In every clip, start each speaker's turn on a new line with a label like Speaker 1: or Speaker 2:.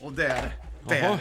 Speaker 1: Och där, där.
Speaker 2: Jaha.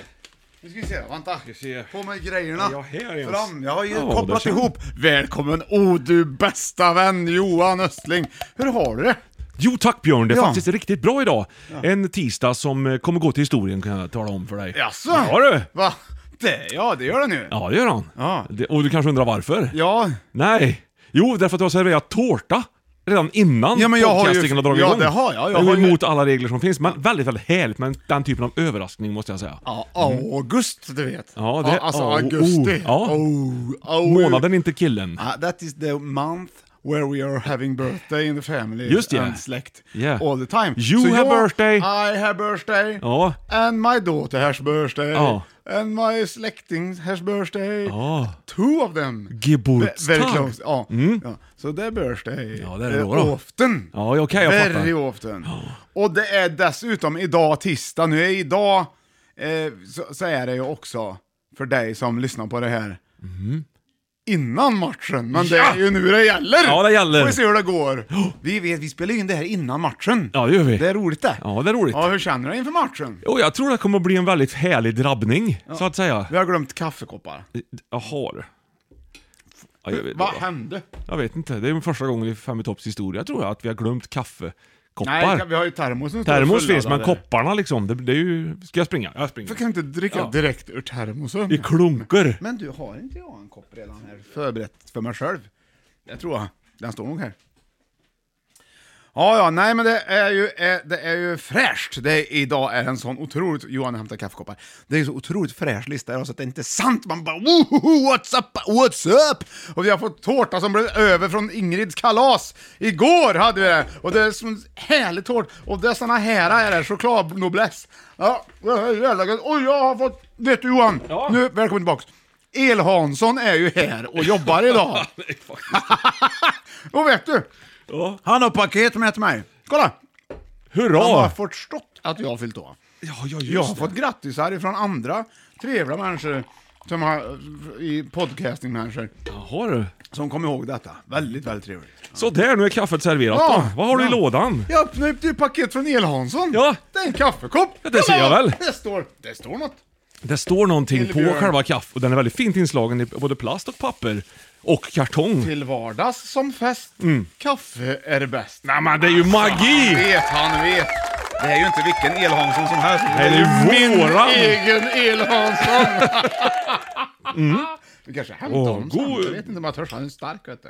Speaker 1: Nu ska vi se, vänta.
Speaker 2: Ska se.
Speaker 1: På med grejerna.
Speaker 2: Ja, här är
Speaker 1: Fram,
Speaker 2: oss.
Speaker 1: jag har ju
Speaker 2: Ja, där
Speaker 1: kopplat
Speaker 2: ser
Speaker 1: ihop. Välkommen, oh du bästa vän Johan Östling. Hur har du det?
Speaker 2: Jo tack Björn, det är
Speaker 1: Ja.
Speaker 2: faktiskt riktigt bra idag. En tisdag som eh, kommer gå till historien kan jag tala om för dig.
Speaker 1: Jaså?
Speaker 2: Ja du!
Speaker 1: Va? Det, ja, det gör det nu.
Speaker 2: Ja det gör han.
Speaker 1: Ja.
Speaker 2: Det, och du kanske undrar varför?
Speaker 1: Ja,
Speaker 2: Nej. Jo, därför att jag har serverat tårta redan innan
Speaker 1: Ja, men jag har ju-
Speaker 2: podcastingen har dragit
Speaker 1: ja,
Speaker 2: igång.
Speaker 1: det har jag. Jag
Speaker 2: går
Speaker 1: har ju-
Speaker 2: emot alla regler som finns, men väldigt, väldigt härligt med den typen av överraskning måste jag säga.
Speaker 1: Ja, August du vet.
Speaker 2: Ja, det-
Speaker 1: alltså
Speaker 2: oh,
Speaker 1: augusti.
Speaker 2: oh, ja.
Speaker 1: Oh, oh.
Speaker 2: Månaden, inte killen.
Speaker 1: Ah, that is the month where we are having birthday in the family
Speaker 2: Just det.
Speaker 1: and släkt.
Speaker 2: Yeah.
Speaker 1: All the time.
Speaker 2: You have birthday.
Speaker 1: I have birthday.
Speaker 2: Ja.
Speaker 1: And my daughter has birthday.
Speaker 2: Ja.
Speaker 1: And my släkting has birthday.
Speaker 2: Ja.
Speaker 1: Two of them.
Speaker 2: Geburtstag.
Speaker 1: Ve- Very close. Ja. ja. So their birthday.
Speaker 2: Mm. Ja, det är det
Speaker 1: eh,
Speaker 2: då, då.
Speaker 1: Often.
Speaker 2: Ja, okej, jag
Speaker 1: Very
Speaker 2: fattar.
Speaker 1: often. Och det är dessutom idag tisdag. Nu är idag, eh, så, så är det ju också för dig som lyssnar på det här.
Speaker 2: Mhm.
Speaker 1: Innan matchen, men det är ju nu det gäller!
Speaker 2: Ja, det gäller.
Speaker 1: Får vi se hur det går. Vi, vet, vi spelar ju in det här innan matchen.
Speaker 2: Ja, det gör vi.
Speaker 1: Det är roligt det.
Speaker 2: Ja, det är roligt.
Speaker 1: Ja, hur känner du inför matchen?
Speaker 2: Jo, jag tror det kommer bli en väldigt härlig drabbning, så att säga.
Speaker 1: Vi har glömt kaffekoppar.
Speaker 2: Jaha du. Ja, jag, vet,
Speaker 1: Vad hände?
Speaker 2: jag vet inte, det är första gången i Fem i topps historia tror jag att vi har glömt kaffekoppar.
Speaker 1: Nej, vi har ju termosen. som står
Speaker 2: Termos finns, men
Speaker 1: fulladdade.
Speaker 2: kopparna liksom, det, det är ju... Ska jag springa? Jag springer.
Speaker 1: Varför kan du inte dricka
Speaker 2: Ja.
Speaker 1: direkt ur termosen?
Speaker 2: I klunkor.
Speaker 1: Men du, har inte jag en kopp redan här förberett för mig själv? Det tror jag. Den står nog här. Ja, ja, nej men det är ju, eh, det är ju fräscht. Det är, idag är en sån otroligt... Johan hämtar kaffekoppar. Det är ju så otroligt fräsch lista idag så att det är inte sant. Man bara woho, what's up, what's up? Och vi har fått tårta som blev över från Ingrids kalas. Igår hade vi det. Och det är sån härlig tårta. Och det är såna här är det, chokladnobless. Ja, det är jävla gött. Och jag har fått... Vet du Johan?
Speaker 2: Ja.
Speaker 1: Nu, Eh, välkommen tillbaks. El Hansson är ju här och jobbar idag. och vet du?
Speaker 2: Ja.
Speaker 1: Han har paket med till mig. Kolla!
Speaker 2: Hurra!
Speaker 1: Han har förstått att jag har fyllt år.
Speaker 2: Ja, ja, just
Speaker 1: Jag har
Speaker 2: det.
Speaker 1: fått grattisar från andra trevliga människor som har, eh, i podcasting-människor
Speaker 2: Jaha du.
Speaker 1: som kom ihåg detta. Väldigt, väldigt trevligt.
Speaker 2: Så där, nu är kaffet serverat
Speaker 1: Ja,
Speaker 2: då. Vad har du i
Speaker 1: ja.
Speaker 2: lådan?
Speaker 1: Jag öppnade upp det ju paket från El Hansson.
Speaker 2: Ja.
Speaker 1: Det är en kaffekopp.
Speaker 2: Ja, det ser jag väl.
Speaker 1: Det står, det står något.
Speaker 2: Det står någonting
Speaker 1: Till
Speaker 2: på
Speaker 1: Björn.
Speaker 2: själva kaffet, och den är väldigt fint inslagen i både plast och papper. Och kartong.
Speaker 1: Till vardags som fest. Kaffe är bäst.
Speaker 2: Mm. Nej men det är ju magi!
Speaker 1: Vet han vet. Det är ju inte vilken El Hansson som helst.
Speaker 2: Nej, det är ju våran.
Speaker 1: egen El Hansson. Vi Mm. kanske hämtar
Speaker 2: Åh,
Speaker 1: honom sen.
Speaker 2: god-
Speaker 1: Jag vet inte om jag törs. Han är stark vet du.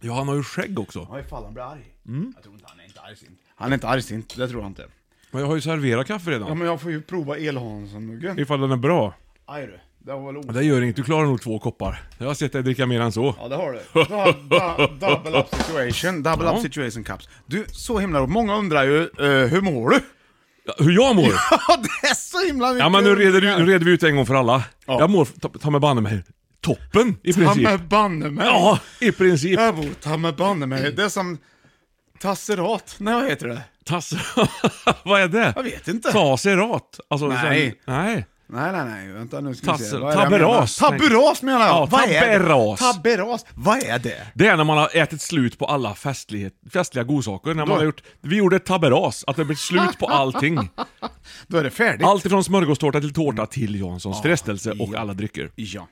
Speaker 2: Ja, han har ju skägg också.
Speaker 1: Ja, ifall han blir arg.
Speaker 2: Mm.
Speaker 1: Jag tror inte han är inte argsint. Han är inte argsint, det tror jag inte.
Speaker 2: Men jag har ju serverat kaffe
Speaker 1: Ja,
Speaker 2: redan.
Speaker 1: men jag får ju prova El Hansson-muggen.
Speaker 2: Ifall den är bra.
Speaker 1: Aj du, det var väl
Speaker 2: Det
Speaker 1: otäckt.
Speaker 2: gör inget, du klarar nog två koppar. Jag har sett dig dricka mer än så.
Speaker 1: Ja, det har du. Du har du- Double up situation, double up situation cups. Du, så himla roligt. Många undrar ju, eh, hur mår du?
Speaker 2: Ja, Hur jag mår?
Speaker 1: Ja, det är så himla mycket.
Speaker 2: Ja men nu reder, du- nu reder vi ut en gång för alla. Jag mår, ta, ta med banne mig, toppen i
Speaker 1: Ta
Speaker 2: princip.
Speaker 1: med banne mig.
Speaker 2: Ja, i princip.
Speaker 1: Jag bor ta med banne mig. Det är som Tasserat, nej vad heter det?
Speaker 2: Tass... Vad är det?
Speaker 1: Jag vet inte.
Speaker 2: Taserat? Alltså,
Speaker 1: Nej.
Speaker 2: Sen... Nej.
Speaker 1: Nej, nej, nej, vänta nu ska vi
Speaker 2: Tas-
Speaker 1: se. Vad är det jag menar?
Speaker 2: taberas.
Speaker 1: Taberas menar jag!
Speaker 2: Ja,
Speaker 1: Vad är det?
Speaker 2: taberas.
Speaker 1: Taberas. Vad är det?
Speaker 2: Det är när man har ätit slut på alla festlighet, festliga godsaker. När man har gjort, vi gjorde ett taberas, att det blir slut på allting.
Speaker 1: Då är det färdigt.
Speaker 2: Allt ifrån smörgåstårta till tårta till Janssons frestelse och alla drycker.
Speaker 1: Ja.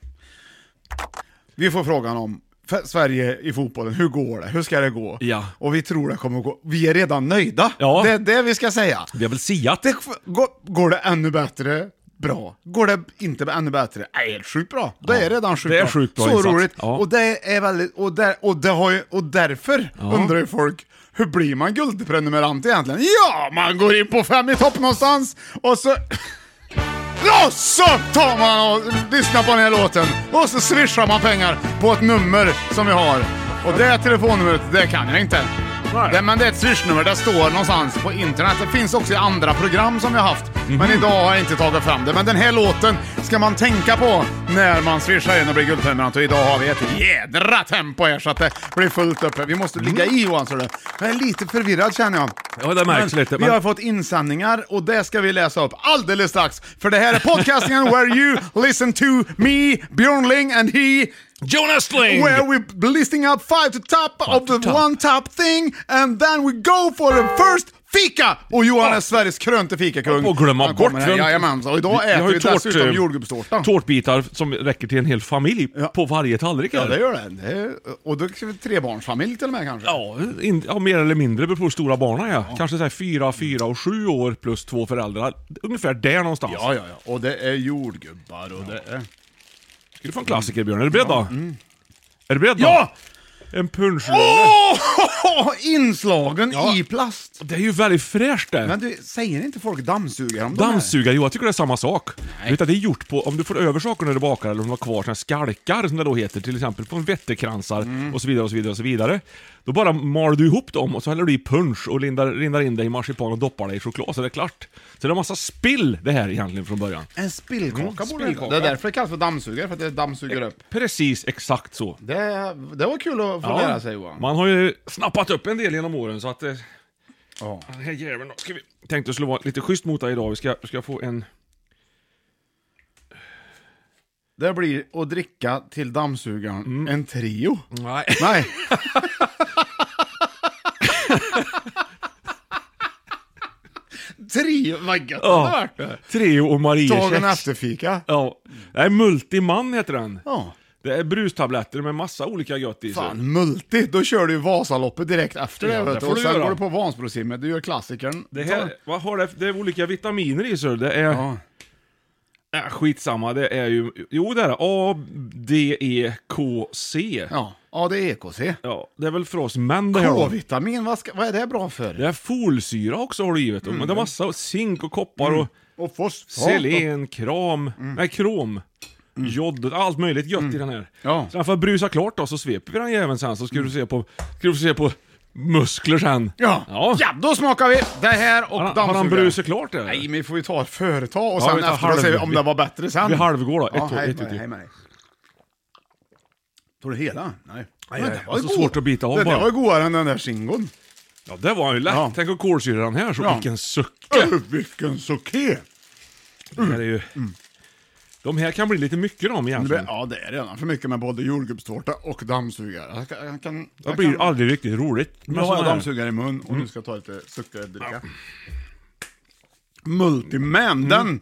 Speaker 1: Vi får frågan om f- Sverige i fotbollen, hur går det? Hur ska det gå?
Speaker 2: Ja.
Speaker 1: Och vi tror det kommer gå. Vi är redan nöjda.
Speaker 2: Ja.
Speaker 1: Det är det vi ska säga.
Speaker 2: Vi har väl siat?
Speaker 1: Det, f- går, går det ännu bättre? Bra. Går det inte ännu bättre? Nej, helt sjukt bra. Det är redan sjukt
Speaker 2: det är
Speaker 1: bra.
Speaker 2: sjukt bra
Speaker 1: Så
Speaker 2: insats.
Speaker 1: roligt.
Speaker 2: Ja.
Speaker 1: Och det är väldigt, och, där, och, det har ju, och därför undrar ju folk, hur blir man guldprenumerant egentligen? Ja, man går in på fem i topp någonstans och så... Och så tar man och lyssnar på den här låten och så swishar man pengar på ett nummer som vi har. Och det telefonnumret, det kan jag inte. Det, men det är ett swishnummer, det står någonstans på internet. Det finns också i andra program som vi har haft. Men idag har jag inte tagit fram det. Men den här låten ska man tänka på när man swishar in och blir guldprenumerant. Och idag har vi ett jädra tempo här så att det blir fullt uppe. Vi måste ligga i Johan, så det. Jag är lite förvirrad känner jag.
Speaker 2: Ja, det märks
Speaker 1: Men
Speaker 2: lite.
Speaker 1: Vi
Speaker 2: men-
Speaker 1: har fått insändningar och det ska vi läsa upp alldeles strax. För det här är podcastingen where you listen to me, Björn Ling and he,
Speaker 2: Jonas Sling!
Speaker 1: where we listing up five to top of the
Speaker 2: top.
Speaker 1: one top thing and then we go for the first fika! Och Johan är Sveriges krönte fikakung.
Speaker 2: Och glömma
Speaker 1: Han kommer
Speaker 2: bort
Speaker 1: här.
Speaker 2: vem-
Speaker 1: Jajamensan, och idag äter
Speaker 2: har
Speaker 1: vi,
Speaker 2: ju tårt-
Speaker 1: dessutom
Speaker 2: eh,
Speaker 1: jordgubbstårta.
Speaker 2: Tårtbitar som räcker till en hel familj på varje tallrik.
Speaker 1: Ja,
Speaker 2: här.
Speaker 1: det gör det. det är, och då ska vi trebarnsfamilj till och med kanske.
Speaker 2: Ja, in, ja, mer eller mindre beror på hur stora barnen är. Kanske så här fyra, fyra och sju år plus två föräldrar. Ungefär där någonstans.
Speaker 1: Ja, ja, ja. Och det är jordgubbar och det är...
Speaker 2: Ska du få en klassiker Björn? Är du beredd då? Är du beredd då?
Speaker 1: mm. Ja!
Speaker 2: En punschrulle.
Speaker 1: Åh! Inslagen i plast.
Speaker 2: Det är ju väldigt fräscht det.
Speaker 1: Men du, säger inte folk dammsugare om
Speaker 2: Dammsugare, jo jag tycker det är samma sak. Utan det är gjort på, om du får över saker när du bakar eller om du har kvar såna här skalkar som det då heter, till exempel på vätterkransar och så vidare och så vidare och så vidare. Då bara mal du ihop dem och så häller du i punsch och lindar, lindar in det i marsipan och doppar det i choklad så är det klart. Så det är en massa spill det här egentligen från början.
Speaker 1: En spillkaka
Speaker 2: Mm,
Speaker 1: borde det vara.
Speaker 2: spillkaka.
Speaker 1: Det är därför det kallas för dammsugare, för att det dammsuger upp.
Speaker 2: Precis exakt så.
Speaker 1: Det, det var kul att få lära sig Johan.
Speaker 2: Man har ju snappat upp en del genom åren så att... eh, Den här jäveln då. Ska vi... Tänkte det skulle vara lite schysst mot dig idag. Vi ska, ska få en...
Speaker 1: Det blir att dricka till dammsugaren
Speaker 2: Mm.
Speaker 1: en trio.
Speaker 2: Nej.
Speaker 1: Nej. trio, vad gött det hade varit det.
Speaker 2: Treo och
Speaker 1: Dagen
Speaker 2: Mariekex.
Speaker 1: efter fika.
Speaker 2: Ja. Nej, Multiman heter den.
Speaker 1: Ja.
Speaker 2: Det är brustabletter med massa olika gött i sig.
Speaker 1: Fan, multi. Då kör du ju Vasaloppet direkt efter det,
Speaker 2: Ja, det
Speaker 1: vet du.
Speaker 2: får
Speaker 1: Och
Speaker 2: du
Speaker 1: sen
Speaker 2: göra.
Speaker 1: går du på Vansbrosimmet, du gör klassikern.
Speaker 2: Det här, vad har det, det är olika vitaminer i sig. Det är...
Speaker 1: Ja.
Speaker 2: Äh, skitsamma, det är ju... Jo, det är det. A, D, E, K, C. Ja.
Speaker 1: Ja, ja det är EKC.
Speaker 2: det är väl för oss män det här då.
Speaker 1: K-vitamin, vad, ska, vad är det bra för?
Speaker 2: Det är folsyra också har du givet. Men
Speaker 1: Mm.
Speaker 2: det är massa zink och koppar och...
Speaker 1: Och fosfat.
Speaker 2: Selen, kram,
Speaker 1: Mm.
Speaker 2: nej krom, jod, allt möjligt gött i den här.
Speaker 1: Ja. Mm.
Speaker 2: Sen får jag brusa klart då så sveper vi den jäveln sen så ska du se på, ska du få se på muskler sen.
Speaker 1: Ja. ja,
Speaker 2: ja.
Speaker 1: då smakar vi det här och
Speaker 2: Har, har han
Speaker 1: dammsugaren.
Speaker 2: brusit klart eller?
Speaker 1: Nej, men får vi ta ett företag och
Speaker 2: Ja,
Speaker 1: sen
Speaker 2: vi tar
Speaker 1: efteråt
Speaker 2: halv-
Speaker 1: säger vi om det var bättre sen.
Speaker 2: Vi halvgår då. Ett,
Speaker 1: ja,
Speaker 2: tag,
Speaker 1: hej
Speaker 2: ett,
Speaker 1: med
Speaker 2: ett,
Speaker 1: dig, hej med dig. Tog du hela? Nej.
Speaker 2: Aj,
Speaker 1: Men det var ju
Speaker 2: aj, så
Speaker 1: god.
Speaker 2: alltså, svårt att bita av
Speaker 1: Den där
Speaker 2: bara.
Speaker 1: var ju godare än den där singon.
Speaker 2: Ja, det var ju lätt.
Speaker 1: Ja.
Speaker 2: Tänk att kolsyra den här så.
Speaker 1: Ja.
Speaker 2: Vilken suck.
Speaker 1: Öh, vilken soké!
Speaker 2: Det här är ju... De här kan bli lite mycket de
Speaker 1: Mm. Det blir-
Speaker 2: egentligen.
Speaker 1: Ja, det är redan för mycket med både jordgubbstårta och dammsugare. Jag kan, jag kan,
Speaker 2: Det
Speaker 1: jag
Speaker 2: blir
Speaker 1: kan,
Speaker 2: aldrig riktigt roligt.
Speaker 1: nu
Speaker 2: med
Speaker 1: har
Speaker 2: såna
Speaker 1: jag
Speaker 2: här. Mm.
Speaker 1: dammsugare i mun och nu ska jag ta lite suckerdricka. Multiman, den,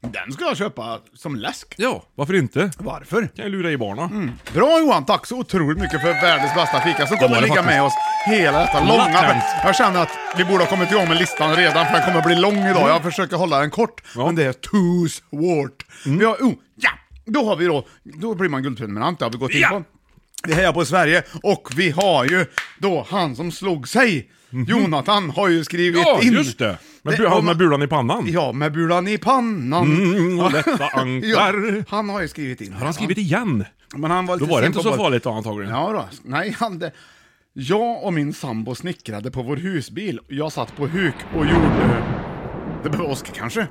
Speaker 1: den ska jag köpa som läsk.
Speaker 2: Ja, varför inte?
Speaker 1: Varför? Mm.
Speaker 2: Kan jag lura i barna.
Speaker 1: Bra Johan, tack så otroligt mycket för världens bästa fika som kommer
Speaker 2: var det
Speaker 1: ligga
Speaker 2: faktiskt.
Speaker 1: med oss hela detta långa...
Speaker 2: Latent.
Speaker 1: Jag känner att vi borde ha kommit igång med listan redan för den kommer bli lång
Speaker 2: Mm.
Speaker 1: idag. Jag försöker hålla den kort, men det är too svårt.
Speaker 2: Mm.
Speaker 1: Vi har, oh, ja, då har vi då, då blir man guldprenumerant, det har vi gått in
Speaker 2: Ja.
Speaker 1: på. Vi hejar på Sverige och vi har ju då han som slog sig, Jonathan, har ju skrivit
Speaker 2: Mhm. Ja,
Speaker 1: in.
Speaker 2: just det! Med,
Speaker 1: Det-
Speaker 2: bu- han med bulan i pannan.
Speaker 1: Ja, med bulan i pannan.
Speaker 2: Mm, och lätta ankar.
Speaker 1: Ja, han har ju skrivit in.
Speaker 2: Har han skrivit igen?
Speaker 1: Men han var
Speaker 2: Då
Speaker 1: lite
Speaker 2: var det
Speaker 1: sen
Speaker 2: inte
Speaker 1: på
Speaker 2: så
Speaker 1: bollen.
Speaker 2: farligt då antagligen.
Speaker 1: Ja då. nej han... Det... Jag och min sambo snickrade på vår husbil. Jag satt på huk och gjorde... Det behöver åska kanske.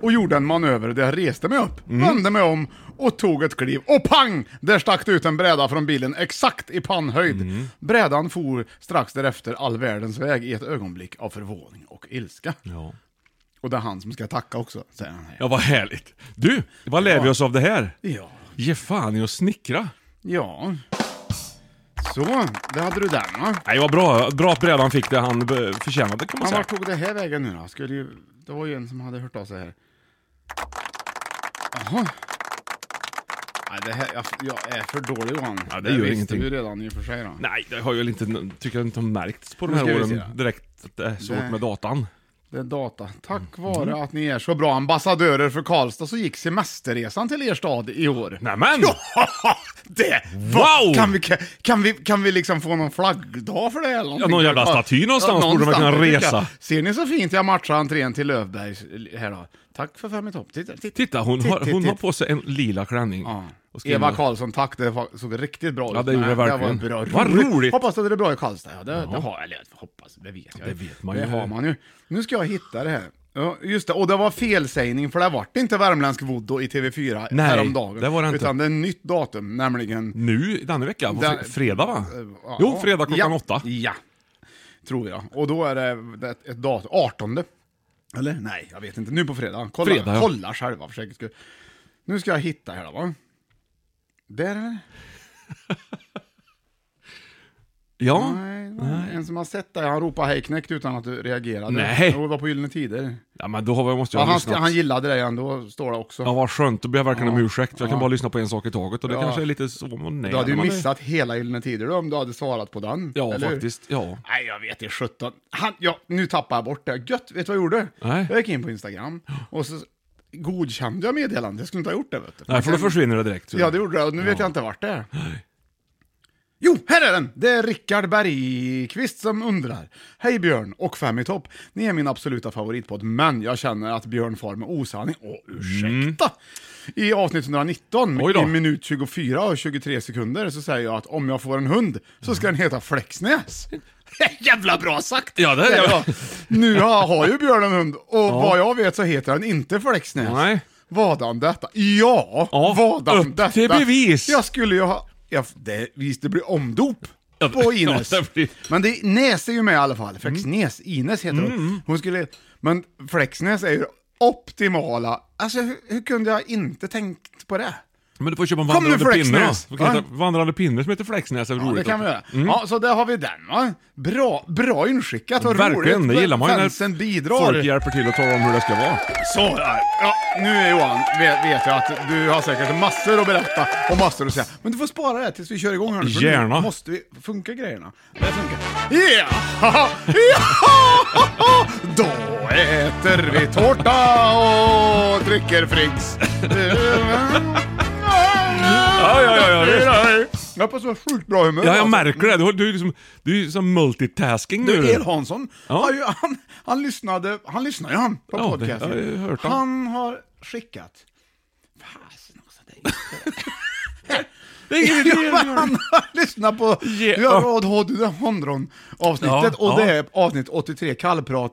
Speaker 1: Och gjorde en manöver där jag reste mig upp, vände mig om och tog ett kliv. Och pang! Där stack det ut en bräda från bilen exakt i pannhöjd. Brädan for strax därefter all världens väg i ett ögonblick av förvåning och ilska.
Speaker 2: Ja.
Speaker 1: Och det är han som ska tacka också, säger han.
Speaker 2: ja, vad härligt. Du, vad lär vi oss av det här?
Speaker 1: Ja.
Speaker 2: Ge fan i att snickra.
Speaker 1: Ja. Så, där hade du den va?
Speaker 2: Nej, vad bra. Bra att brädan fick det han eh, förtjänade kan man
Speaker 1: Men
Speaker 2: säga.
Speaker 1: vart tog det här vägen nu då? Skulle ju, det var ju en som hade hört av sig här. Jaha. Nej, det här, jag, jag är för dålig Johan.
Speaker 2: Ja, det gör
Speaker 1: visste
Speaker 2: ingenting.
Speaker 1: vi redan i och för sig då.
Speaker 2: Nej, det har jag inte, tycker jag inte har märkts på de
Speaker 1: Nu
Speaker 2: här
Speaker 1: ska vi se.
Speaker 2: åren direkt att det är svårt
Speaker 1: Nej.
Speaker 2: med datan.
Speaker 1: Det är data. Tack
Speaker 2: Mm.
Speaker 1: vare att ni är så bra ambassadörer för Karlstad så gick semesterresan till er stad i år.
Speaker 2: Nämen!
Speaker 1: det!
Speaker 2: Wow!
Speaker 1: Kan vi, kan, vi, kan vi liksom få någon flaggdag för det eller någonting?
Speaker 2: någon jävla staty någonstans borde man kunna
Speaker 1: någonstans, tycker jag.
Speaker 2: resa.
Speaker 1: Ser ni så fint jag matchar entrén till Lövbergs här då? Tack för fem i topp. Titta, titta.
Speaker 2: Titta, hon, har,
Speaker 1: Titt, titt,
Speaker 2: hon har
Speaker 1: titt.
Speaker 2: på sig en lila klänning. Och skriver-
Speaker 1: Eva Karlsson, tack. Det var- såg riktigt bra ut.
Speaker 2: Ja, det gjorde
Speaker 1: Nej,
Speaker 2: det verkligen.
Speaker 1: var bra.
Speaker 2: Vad roligt.
Speaker 1: Hoppas att det är bra i Karlstad. Ja, det, det har eller jag. Hoppas, det vet jag
Speaker 2: Det vet man
Speaker 1: Det
Speaker 2: ju.
Speaker 1: har man ju. Nu ska jag hitta det här. Ja, just det, och det var felsägning för det vart inte värmländsk voodoo i TV4
Speaker 2: Nej,
Speaker 1: häromdagen.
Speaker 2: det var det inte.
Speaker 1: Utan det är ett nytt datum, nämligen...
Speaker 2: Nu denna vecka, på
Speaker 1: Den- Eh,
Speaker 2: fre- fredag va?
Speaker 1: ja,
Speaker 2: Jo, fredag klockan
Speaker 1: ja,
Speaker 2: åtta.
Speaker 1: Ja, tror jag. Och då är det det- ett datum, 18. Eller? Nej, jag vet inte. Nu på fredag. Kolla,
Speaker 2: Fredag, ja.
Speaker 1: kolla själva för säkerhets skull. Nu ska jag hitta här då, va. Där är det.
Speaker 2: Ja.
Speaker 1: Nej, nej. En som har sett dig, han ropade hej knäckt utan att du reagerade.
Speaker 2: Nej.
Speaker 1: Jo, Det var på Gyllene Tider.
Speaker 2: ja, men då har vi- måste jag
Speaker 1: Ja,
Speaker 2: ha
Speaker 1: han,
Speaker 2: lyssnat.
Speaker 1: han gillade dig ändå, står det också.
Speaker 2: Ja, vad skönt. Då ber jag verkligen om ursäkt. för Jag kan bara lyssna på en sak i taget och det
Speaker 1: Ja.
Speaker 2: kanske är lite så. men Nej,
Speaker 1: du hade ju
Speaker 2: när man är-
Speaker 1: missat hela Gyllene Tider då, om du hade svarat på den.
Speaker 2: Ja,
Speaker 1: eller hur?
Speaker 2: faktiskt. Ja.
Speaker 1: Nej, jag vet inte, 17. Han, ja, nu tappar jag bort det. Gött, vet du vad jag gjorde?
Speaker 2: Nej.
Speaker 1: Jag gick in på Instagram och så godkände jag meddelandet. Jag skulle inte ha gjort det, vet du.
Speaker 2: Nej, för då försvinner det direkt. tror
Speaker 1: Ja,
Speaker 2: jag.
Speaker 1: det gjorde det. Och nu vet jag inte vart det är. Jo, här är den! Det är Rickard Bergqvist som undrar. Hej Björn och Fem i topp. Ni är min absoluta favoritpodd, men jag känner att Björn far med osanning. Åh, ursäkta! I avsnitt 119,
Speaker 2: Mm. Oj då.
Speaker 1: i minut 24 och 23 sekunder, så säger jag att om jag får en hund så ska den heta Flexnäs. Jävla bra sagt!
Speaker 2: Ja, det är
Speaker 1: Jävla-
Speaker 2: jag.
Speaker 1: Nu har, har ju Björn en hund, och vad jag vet så heter den inte Flexnäs.
Speaker 2: Nej.
Speaker 1: Vadan detta? Ja!
Speaker 2: Ja,
Speaker 1: vadan
Speaker 2: upp
Speaker 1: detta?
Speaker 2: till bevis.
Speaker 1: Jag skulle ju ha... Jag, det, visst, det blir omdop
Speaker 2: Ja,
Speaker 1: på Ines.
Speaker 2: ja, det blir- Mm.
Speaker 1: Men det, Näs är ju med i alla fall. Flexnäs. Ines heter hon. Hon skulle... Men Flexnäs är ju det optimala. Alltså, hur, hur kunde jag inte tänkt på det?
Speaker 2: Men du får köpa en
Speaker 1: Kom nu,
Speaker 2: vandrande pinne
Speaker 1: Flexnäs!
Speaker 2: då. Du kan
Speaker 1: Ja.
Speaker 2: hitta Vandrande pinne som heter Flexnäs. är väl
Speaker 1: Ja, det
Speaker 2: roligt
Speaker 1: kan vi
Speaker 2: också.
Speaker 1: göra. Ja, så där har vi den va. Bra, bra inskickat och
Speaker 2: Verkligen,
Speaker 1: roligt.
Speaker 2: det gillar man ju
Speaker 1: Fansen
Speaker 2: när
Speaker 1: bidrar.
Speaker 2: folk hjälper till och talar om hur det ska vara.
Speaker 1: Så där. Ja, nu är Johan, vet, vet jag att du har säkert massor att berätta och massor att säga. Men du får spara det tills vi kör igång här nu, för nu
Speaker 2: Gärna.
Speaker 1: måste vi... Funkar grejerna? Det funkar. Yeah! Haha! Jaha! Då äter vi tårta och dricker Friggs.
Speaker 2: Ja, ja, ja, ja,
Speaker 1: Jag är på så sjukt bra humör.
Speaker 2: Ja, jag
Speaker 1: alltså.
Speaker 2: märker det. Du, har- du, är liksom, du är liksom multitasking nu.
Speaker 1: Du, El Hansson,
Speaker 2: Ja.
Speaker 1: har ju, han, han lyssnade, han lyssnar ju han på
Speaker 2: Ja, det-
Speaker 1: podcasten.
Speaker 2: jag har ju hört han.
Speaker 1: han har skickat, fasen också, det är inte
Speaker 2: Det är ingen idé.
Speaker 1: Ja, men han har lyssnat på
Speaker 2: Ge
Speaker 1: du har
Speaker 2: upp.
Speaker 1: Rad-Hondron-avsnittet
Speaker 2: Ja,
Speaker 1: och det
Speaker 2: ja.
Speaker 1: är avsnitt 83, kallprat.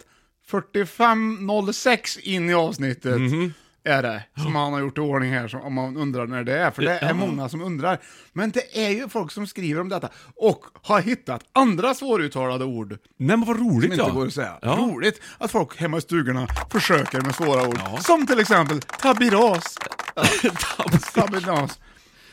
Speaker 1: 45.06 in i avsnittet
Speaker 2: Mhm.
Speaker 1: är det, som han har gjort i ordning här, som, om man undrar när det är, för det är många som undrar. Men det är ju folk som skriver om detta och har hittat andra svåruttalade ord
Speaker 2: Nej men vad roligt
Speaker 1: som
Speaker 2: ja.
Speaker 1: inte går att säga.
Speaker 2: Ja.
Speaker 1: Roligt att folk hemma i stugorna försöker med svåra ord. Som till exempel tabiras. tabiras.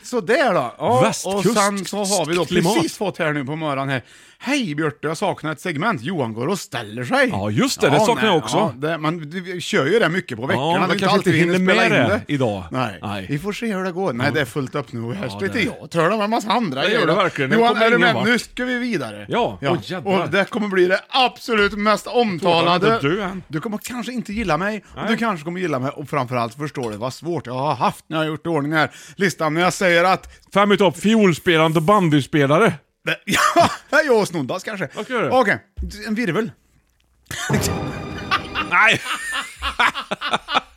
Speaker 1: Så där då. Ja, och
Speaker 2: Västkust-
Speaker 1: sen så har vi då
Speaker 2: klimat.
Speaker 1: precis fått här nu på morgonen här. Hej Björte, jag saknar ett segment. Johan går och ställer sig.
Speaker 2: Ja, just det, det saknar jag också.
Speaker 1: Ja, det, man du, vi kör ju det mycket på veckorna.
Speaker 2: men
Speaker 1: det är
Speaker 2: kanske
Speaker 1: alltid
Speaker 2: inte
Speaker 1: vi
Speaker 2: hinner
Speaker 1: spela
Speaker 2: med
Speaker 1: in
Speaker 2: det idag.
Speaker 1: Nej.
Speaker 2: Nej.
Speaker 1: vi får se hur det går. Nej, det är fullt upp nu och här
Speaker 2: Ja,
Speaker 1: sitter
Speaker 2: det-
Speaker 1: jag och törnar med en massa andra
Speaker 2: Det gör
Speaker 1: grejer.
Speaker 2: det verkligen. Det
Speaker 1: Johan,
Speaker 2: kommer
Speaker 1: är du med?
Speaker 2: ingen vart.
Speaker 1: Nu ska vi vidare.
Speaker 2: Ja, åh, jävlar.
Speaker 1: och det kommer bli det absolut mest omtalade.
Speaker 2: Tårtan är inte död än.
Speaker 1: Du kommer kanske inte gilla mig, och du kanske kommer gilla mig och framförallt förstår du vad svårt jag har haft när jag har gjort i ordning den här listan. När jag säger att...
Speaker 2: Fem i topp, fiolspelande bandyspelare.
Speaker 1: Ja, jag och Snoddas kanske.
Speaker 2: Vad ska jag göra?
Speaker 1: Okej, en virvel.
Speaker 2: Nej!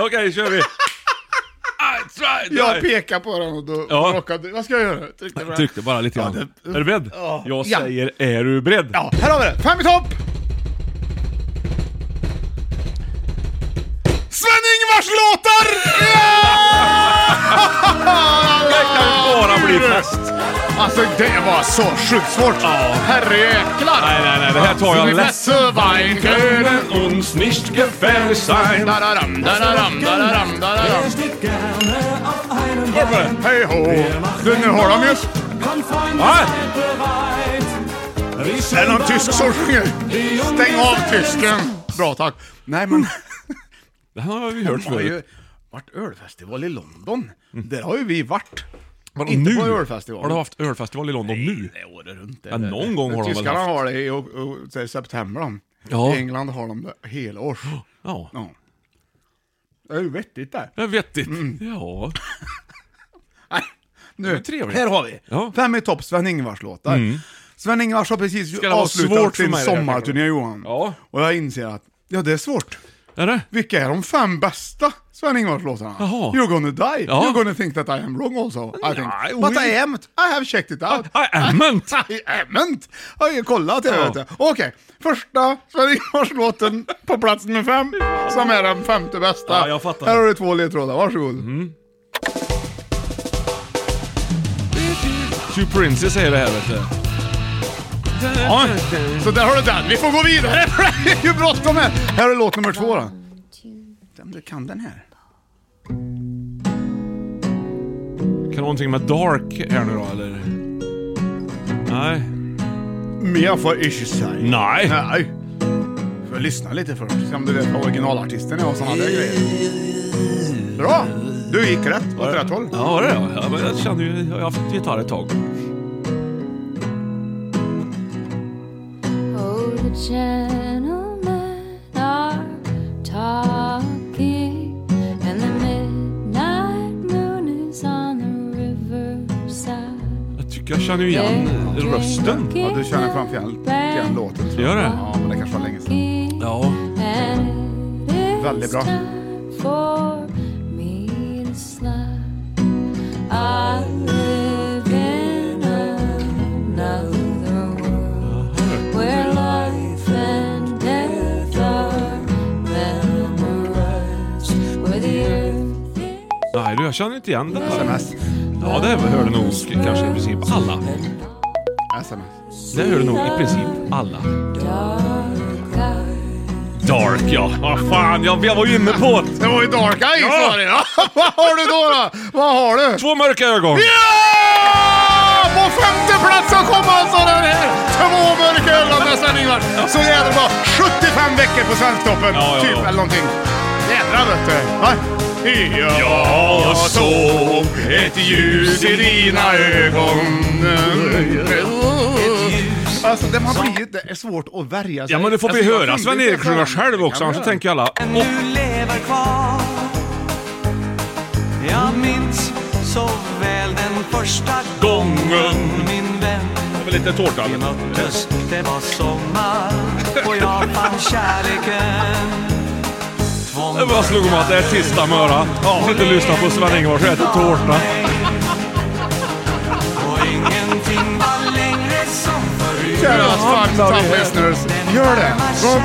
Speaker 2: Okej, kör vi. Ah, try, try.
Speaker 1: Jag pekar på den och då
Speaker 2: Ja.
Speaker 1: råkade... Vad ska jag göra? Tryckte på den.
Speaker 2: Tryckte bara lite
Speaker 1: Ja,
Speaker 2: grann.
Speaker 1: det-
Speaker 2: Är du beredd?
Speaker 1: Ja.
Speaker 2: Jag
Speaker 1: Ja.
Speaker 2: säger, är du beredd?
Speaker 1: Ja, här har vi det! Fem i topp! Mars-låtar! Ja!
Speaker 2: Det kan bara bli fest.
Speaker 1: Alltså det var så sjukt svårt. Ja. Herrejäklar!
Speaker 2: Nej, nej, nej, det här tar jag lätt.
Speaker 1: Survive-kören.
Speaker 2: uns nicht gefällig sein.
Speaker 1: Dararam, dararam, dararam, dararam. Hej ho! Du, nu har de ju...
Speaker 2: Va?
Speaker 1: Är det någon tysk som sjunger? Stäng av tysken! Bra, tack. Nej, men...
Speaker 2: Det här har vi hört
Speaker 1: Det har ju
Speaker 2: förut.
Speaker 1: varit ölfestival i London. Där har ju vi varit.
Speaker 2: Vadå,
Speaker 1: Inte
Speaker 2: nu?
Speaker 1: på ölfestival.
Speaker 2: Har du haft ölfestival i London nu?
Speaker 1: Det är året runt.
Speaker 2: Ja, någon gång har de väl
Speaker 1: Tyskarna
Speaker 2: haft.
Speaker 1: har det i och, och, så här, september. de.
Speaker 2: Ja.
Speaker 1: I England har de det hela års.
Speaker 2: Ja.
Speaker 1: Ja. Det är ju vettigt där.
Speaker 2: Det är vettigt.
Speaker 1: Mm.
Speaker 2: Ja.
Speaker 1: Nej, nu.
Speaker 2: är trevligt.
Speaker 1: Mm. Här har vi.
Speaker 2: Ja. Mm.
Speaker 1: Fem i topp Sven-Ingvars låtar. Sven-Ingvars har precis
Speaker 2: Ska det vara
Speaker 1: avslutat
Speaker 2: svårt för
Speaker 1: sin
Speaker 2: mig det här,
Speaker 1: sommarturné
Speaker 2: kanske?
Speaker 1: Johan.
Speaker 2: Ja.
Speaker 1: Och jag inser att, ja det är svårt.
Speaker 2: Är det?
Speaker 1: Vilka är de fem bästa Sven-Ingvars låtarna?
Speaker 2: Jaha.
Speaker 1: You're gonna die,
Speaker 2: Ja.
Speaker 1: you're gonna think that I am wrong also, I think.
Speaker 2: Nej,
Speaker 1: But
Speaker 2: we-
Speaker 1: I haven't, I have checked it out.
Speaker 2: I amn't!
Speaker 1: I haven't! Jag har ju kollat det
Speaker 2: Ja.
Speaker 1: vet jag. Okej, första Sven-Ingvars-låten på plats nummer fem, som är den femte bästa.
Speaker 2: Ja, jag fattar.
Speaker 1: Här har du två ledtrådar, varsågod.
Speaker 2: Two Princess säger det här vet du.
Speaker 1: Ja, så där har du den. Vi får gå vidare för det är ju bråttom här. Här är låt nummer två då. Om du kan den här.
Speaker 2: Kan det vara någonting med Dark här nu då eller? Nej.
Speaker 1: Mer får inte säga.
Speaker 2: Nej.
Speaker 1: Nej. Får lyssna lite först, se om du vet vad originalartisten är och sådana där grejer. Bra! Du gick rätt, åt rätt håll.
Speaker 2: Ja, var det ja. ja men jag känner ju, jag har haft gitarr ett tag.
Speaker 3: Oh, the gentlemen are talking, and the midnight moon is on the riverside.
Speaker 2: Jag tycker jag känner ju igen rösten.
Speaker 1: Ja, du känner framför allt igen låten tror jag.
Speaker 2: Gör det?
Speaker 1: Ja, men det kanske var länge sedan.
Speaker 2: Ja.
Speaker 3: And it
Speaker 1: Väldigt
Speaker 3: is
Speaker 1: bra.
Speaker 3: time for me to slide. I live in another world where life and death are memorized, where the earth is
Speaker 2: Nej du, jag känner inte igen det här.
Speaker 1: SMS.
Speaker 2: Ja, det hörde nog kanske i princip alla.
Speaker 1: SMS.
Speaker 2: Det hörde nog i princip alla.
Speaker 3: dark eyed.
Speaker 2: Dark ja. Vad fan, jag, jag var ju inne på det.
Speaker 1: Det var ju Dark Eyes
Speaker 2: Ja.
Speaker 1: var det ja. Vad har du då då? Vad har du?
Speaker 2: Två mörka ögon.
Speaker 1: Ja! På femte plats så kom alltså den här Två mörka ögon med Sven-Ingvars. Så jädra bra. 75 veckor på Svensktoppen,
Speaker 2: Ja, ja,
Speaker 1: typ
Speaker 2: ja.
Speaker 1: eller någonting. Jädra vet du. Va? Ja,
Speaker 2: Jag såg ett ljus i dina ögon.
Speaker 1: Alltså det, man blir, ju- det är svårt att värja sig.
Speaker 2: Ja men det får vi
Speaker 1: alltså, jag
Speaker 2: höra
Speaker 1: tänkte
Speaker 2: Sven-Erik
Speaker 1: inte-
Speaker 2: sjunga själv också,
Speaker 1: Ja, men-
Speaker 2: annars så tänker alla...
Speaker 4: Nu lever kvar Jag minns så väl den första gången min vän
Speaker 2: Lite tårta.
Speaker 4: Vi möttes, det var sommar och jag fann kärleken Tvång
Speaker 2: Jag bara slog om att det är tisdag morgon. Om inte lyssnar på Sven-Ingvars och äter tårta.
Speaker 4: och ingenting var längre som förut
Speaker 1: Kära fucked
Speaker 2: Ja,
Speaker 1: up
Speaker 2: vi-
Speaker 1: listeners, gör det. Gå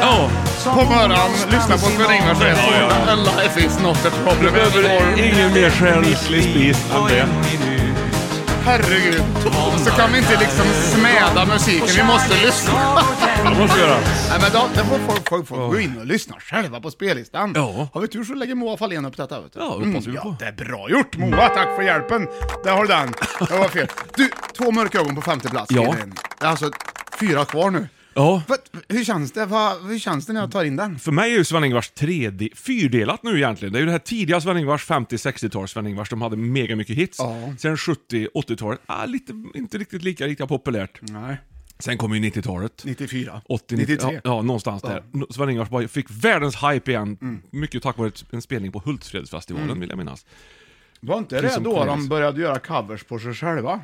Speaker 2: Ja.
Speaker 1: på morgonen, lyssna på Sven-Ingvars rätt.
Speaker 2: Ja, ja, ja.
Speaker 1: Life is not a
Speaker 2: Du
Speaker 1: problem
Speaker 2: behöver
Speaker 1: anymore.
Speaker 2: ingen mer själslig spis än det.
Speaker 1: Herregud. Så kan vi inte liksom smäda musiken, vi måste lyssna.
Speaker 2: Det måste vi göra.
Speaker 1: Nej men då, då får folk, folk får gå in och lyssna själva på spellistan.
Speaker 2: Ja.
Speaker 1: Har vi tur så lägger Moa Fahlén upp detta vet du.
Speaker 2: Ja, hoppas vi på.
Speaker 1: ja, det är bra gjort Moa, tack för hjälpen. Där har du den. Det var fel. Du, två mörka ögon på femte plats.
Speaker 2: Ja.
Speaker 1: Kevin. Det är alltså fyra kvar nu.
Speaker 2: Ja.
Speaker 1: Vad- hur känns det? Va, hur känns det när jag tar in den?
Speaker 2: För mig är ju Sven-Ingvars tredje, fyrdelat nu egentligen. Det är ju det här tidiga Sven-Ingvars, 50-60-tal Sven-Ingvars, de hade mega mycket hits.
Speaker 1: Ja.
Speaker 2: Sen 70-80-talet, ah, lite, inte riktigt lika, lika populärt.
Speaker 1: Nej.
Speaker 2: Sen kom ju 90-talet.
Speaker 1: 94.
Speaker 2: 80,
Speaker 1: 93.
Speaker 2: 93. Ja, ja, någonstans där. No- Sven-Ingvars bara fick världens hype igen,
Speaker 1: Mm.
Speaker 2: mycket tack vare ett- en spelning på Hultsfredsfestivalen vill jag minnas.
Speaker 1: Var inte
Speaker 2: Precis
Speaker 1: det
Speaker 2: som
Speaker 1: då de
Speaker 2: Cornelis.
Speaker 1: började göra covers på sig själva?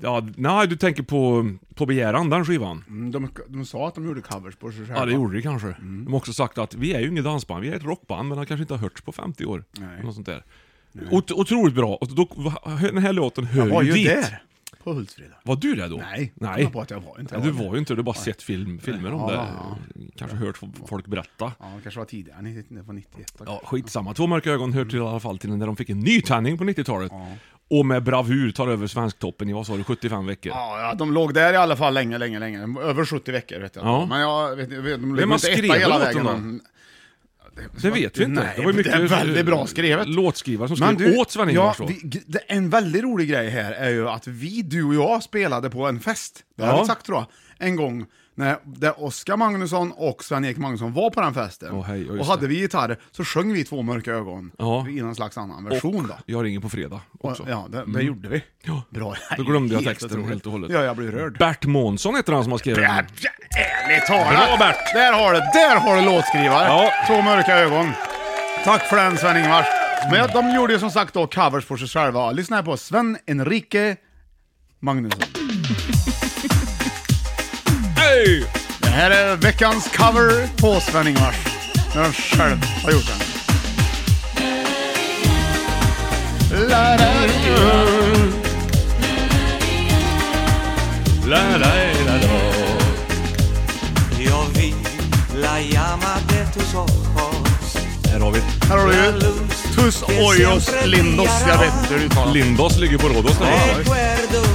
Speaker 2: Ja, nej, du tänker på På begäran, den skivan.
Speaker 1: Mm, De, de sa att de gjorde covers på sig själva.
Speaker 2: Ja, det gjorde det kanske.
Speaker 1: Mm.
Speaker 2: De har också sagt att vi är ju inget dansband, vi är ett rockband, men har kanske inte hörts på 50 år. Något sånt där. Ot- otroligt bra, och då, den här låten hör
Speaker 1: var
Speaker 2: ju
Speaker 1: ju
Speaker 2: dit.
Speaker 1: där. på Hultsfredag.
Speaker 2: Var du det då?
Speaker 1: Nej, jag
Speaker 2: Nej.
Speaker 1: kom på att jag var inte
Speaker 2: Nej,
Speaker 1: det.
Speaker 2: du var ju inte det. Du har bara sett film, filmer om
Speaker 1: Ja,
Speaker 2: det.
Speaker 1: ja,
Speaker 2: Kanske hört folk berätta.
Speaker 1: Ja, det kanske var tidigare, 90 det var 91.
Speaker 2: Ja, skitsamma. Två mörka ögon hör till i alla fall till när de fick en ny tändning på 90-talet. Och med bravur tar över Svensktoppen i, vad sa du, 75 veckor?
Speaker 1: Ja, ja, de låg där i alla fall länge, länge, länge. Över 70 veckor vet jag.
Speaker 2: Ja.
Speaker 1: Men jag vet, jag vet de låg
Speaker 2: Vem har
Speaker 1: inte etta
Speaker 2: skrivit
Speaker 1: hela
Speaker 2: låten
Speaker 1: vägen.
Speaker 2: då?
Speaker 1: men-
Speaker 2: Det vet vi inte.
Speaker 1: Nej,
Speaker 2: var ju
Speaker 1: det är väldigt bra skrivet.
Speaker 2: Låtskrivare som skrev åt
Speaker 1: ja,
Speaker 2: Sven-Ingvars då.
Speaker 1: vi, g- det, En väldigt rolig grej här är ju att vi, du och jag, spelade på en fest. Det har
Speaker 2: Ja.
Speaker 1: vi sagt tror jag. En gång. När, där Oskar Magnusson och Sven-Erik Magnusson var på den festen.
Speaker 2: Åh, hej, ja, just
Speaker 1: och hade vi gitarr så sjöng vi Två mörka ögon.
Speaker 2: Ja.
Speaker 1: I någon slags annan version då.
Speaker 2: Jag ringer på fredag också. Mm.
Speaker 1: Och, ja, det, det gjorde vi.
Speaker 2: Ja.
Speaker 1: Bra.
Speaker 2: Då glömde jag
Speaker 1: Helt
Speaker 2: texten
Speaker 1: otroligt.
Speaker 2: helt och hållet.
Speaker 1: Ja, jag blir rörd.
Speaker 2: Bert Månsson heter han som har skrivit den.
Speaker 1: Bert, ärligt talat!
Speaker 2: Bra, Bert.
Speaker 1: Där har du, där har du låtskrivare!
Speaker 2: Ja.
Speaker 1: Två mörka ögon. Tack för den Sven-Ingvars. Men ja, de gjorde ju som sagt då covers på sig själva. Lyssna här på Sven Enrique Magnusson.
Speaker 2: Hey!
Speaker 1: Det här är veckans cover på Sven-Ingvars. När de själv har gjort den. La, la, la.
Speaker 2: La, la, la, la.
Speaker 5: Io vi la llama de tus ojos
Speaker 2: Här har vi
Speaker 1: Här har du ju Tus Ojos Lindos. Jag vet inte hur du uttalar det.
Speaker 2: Lindos ligger på Rhodos där.
Speaker 5: Recuerdo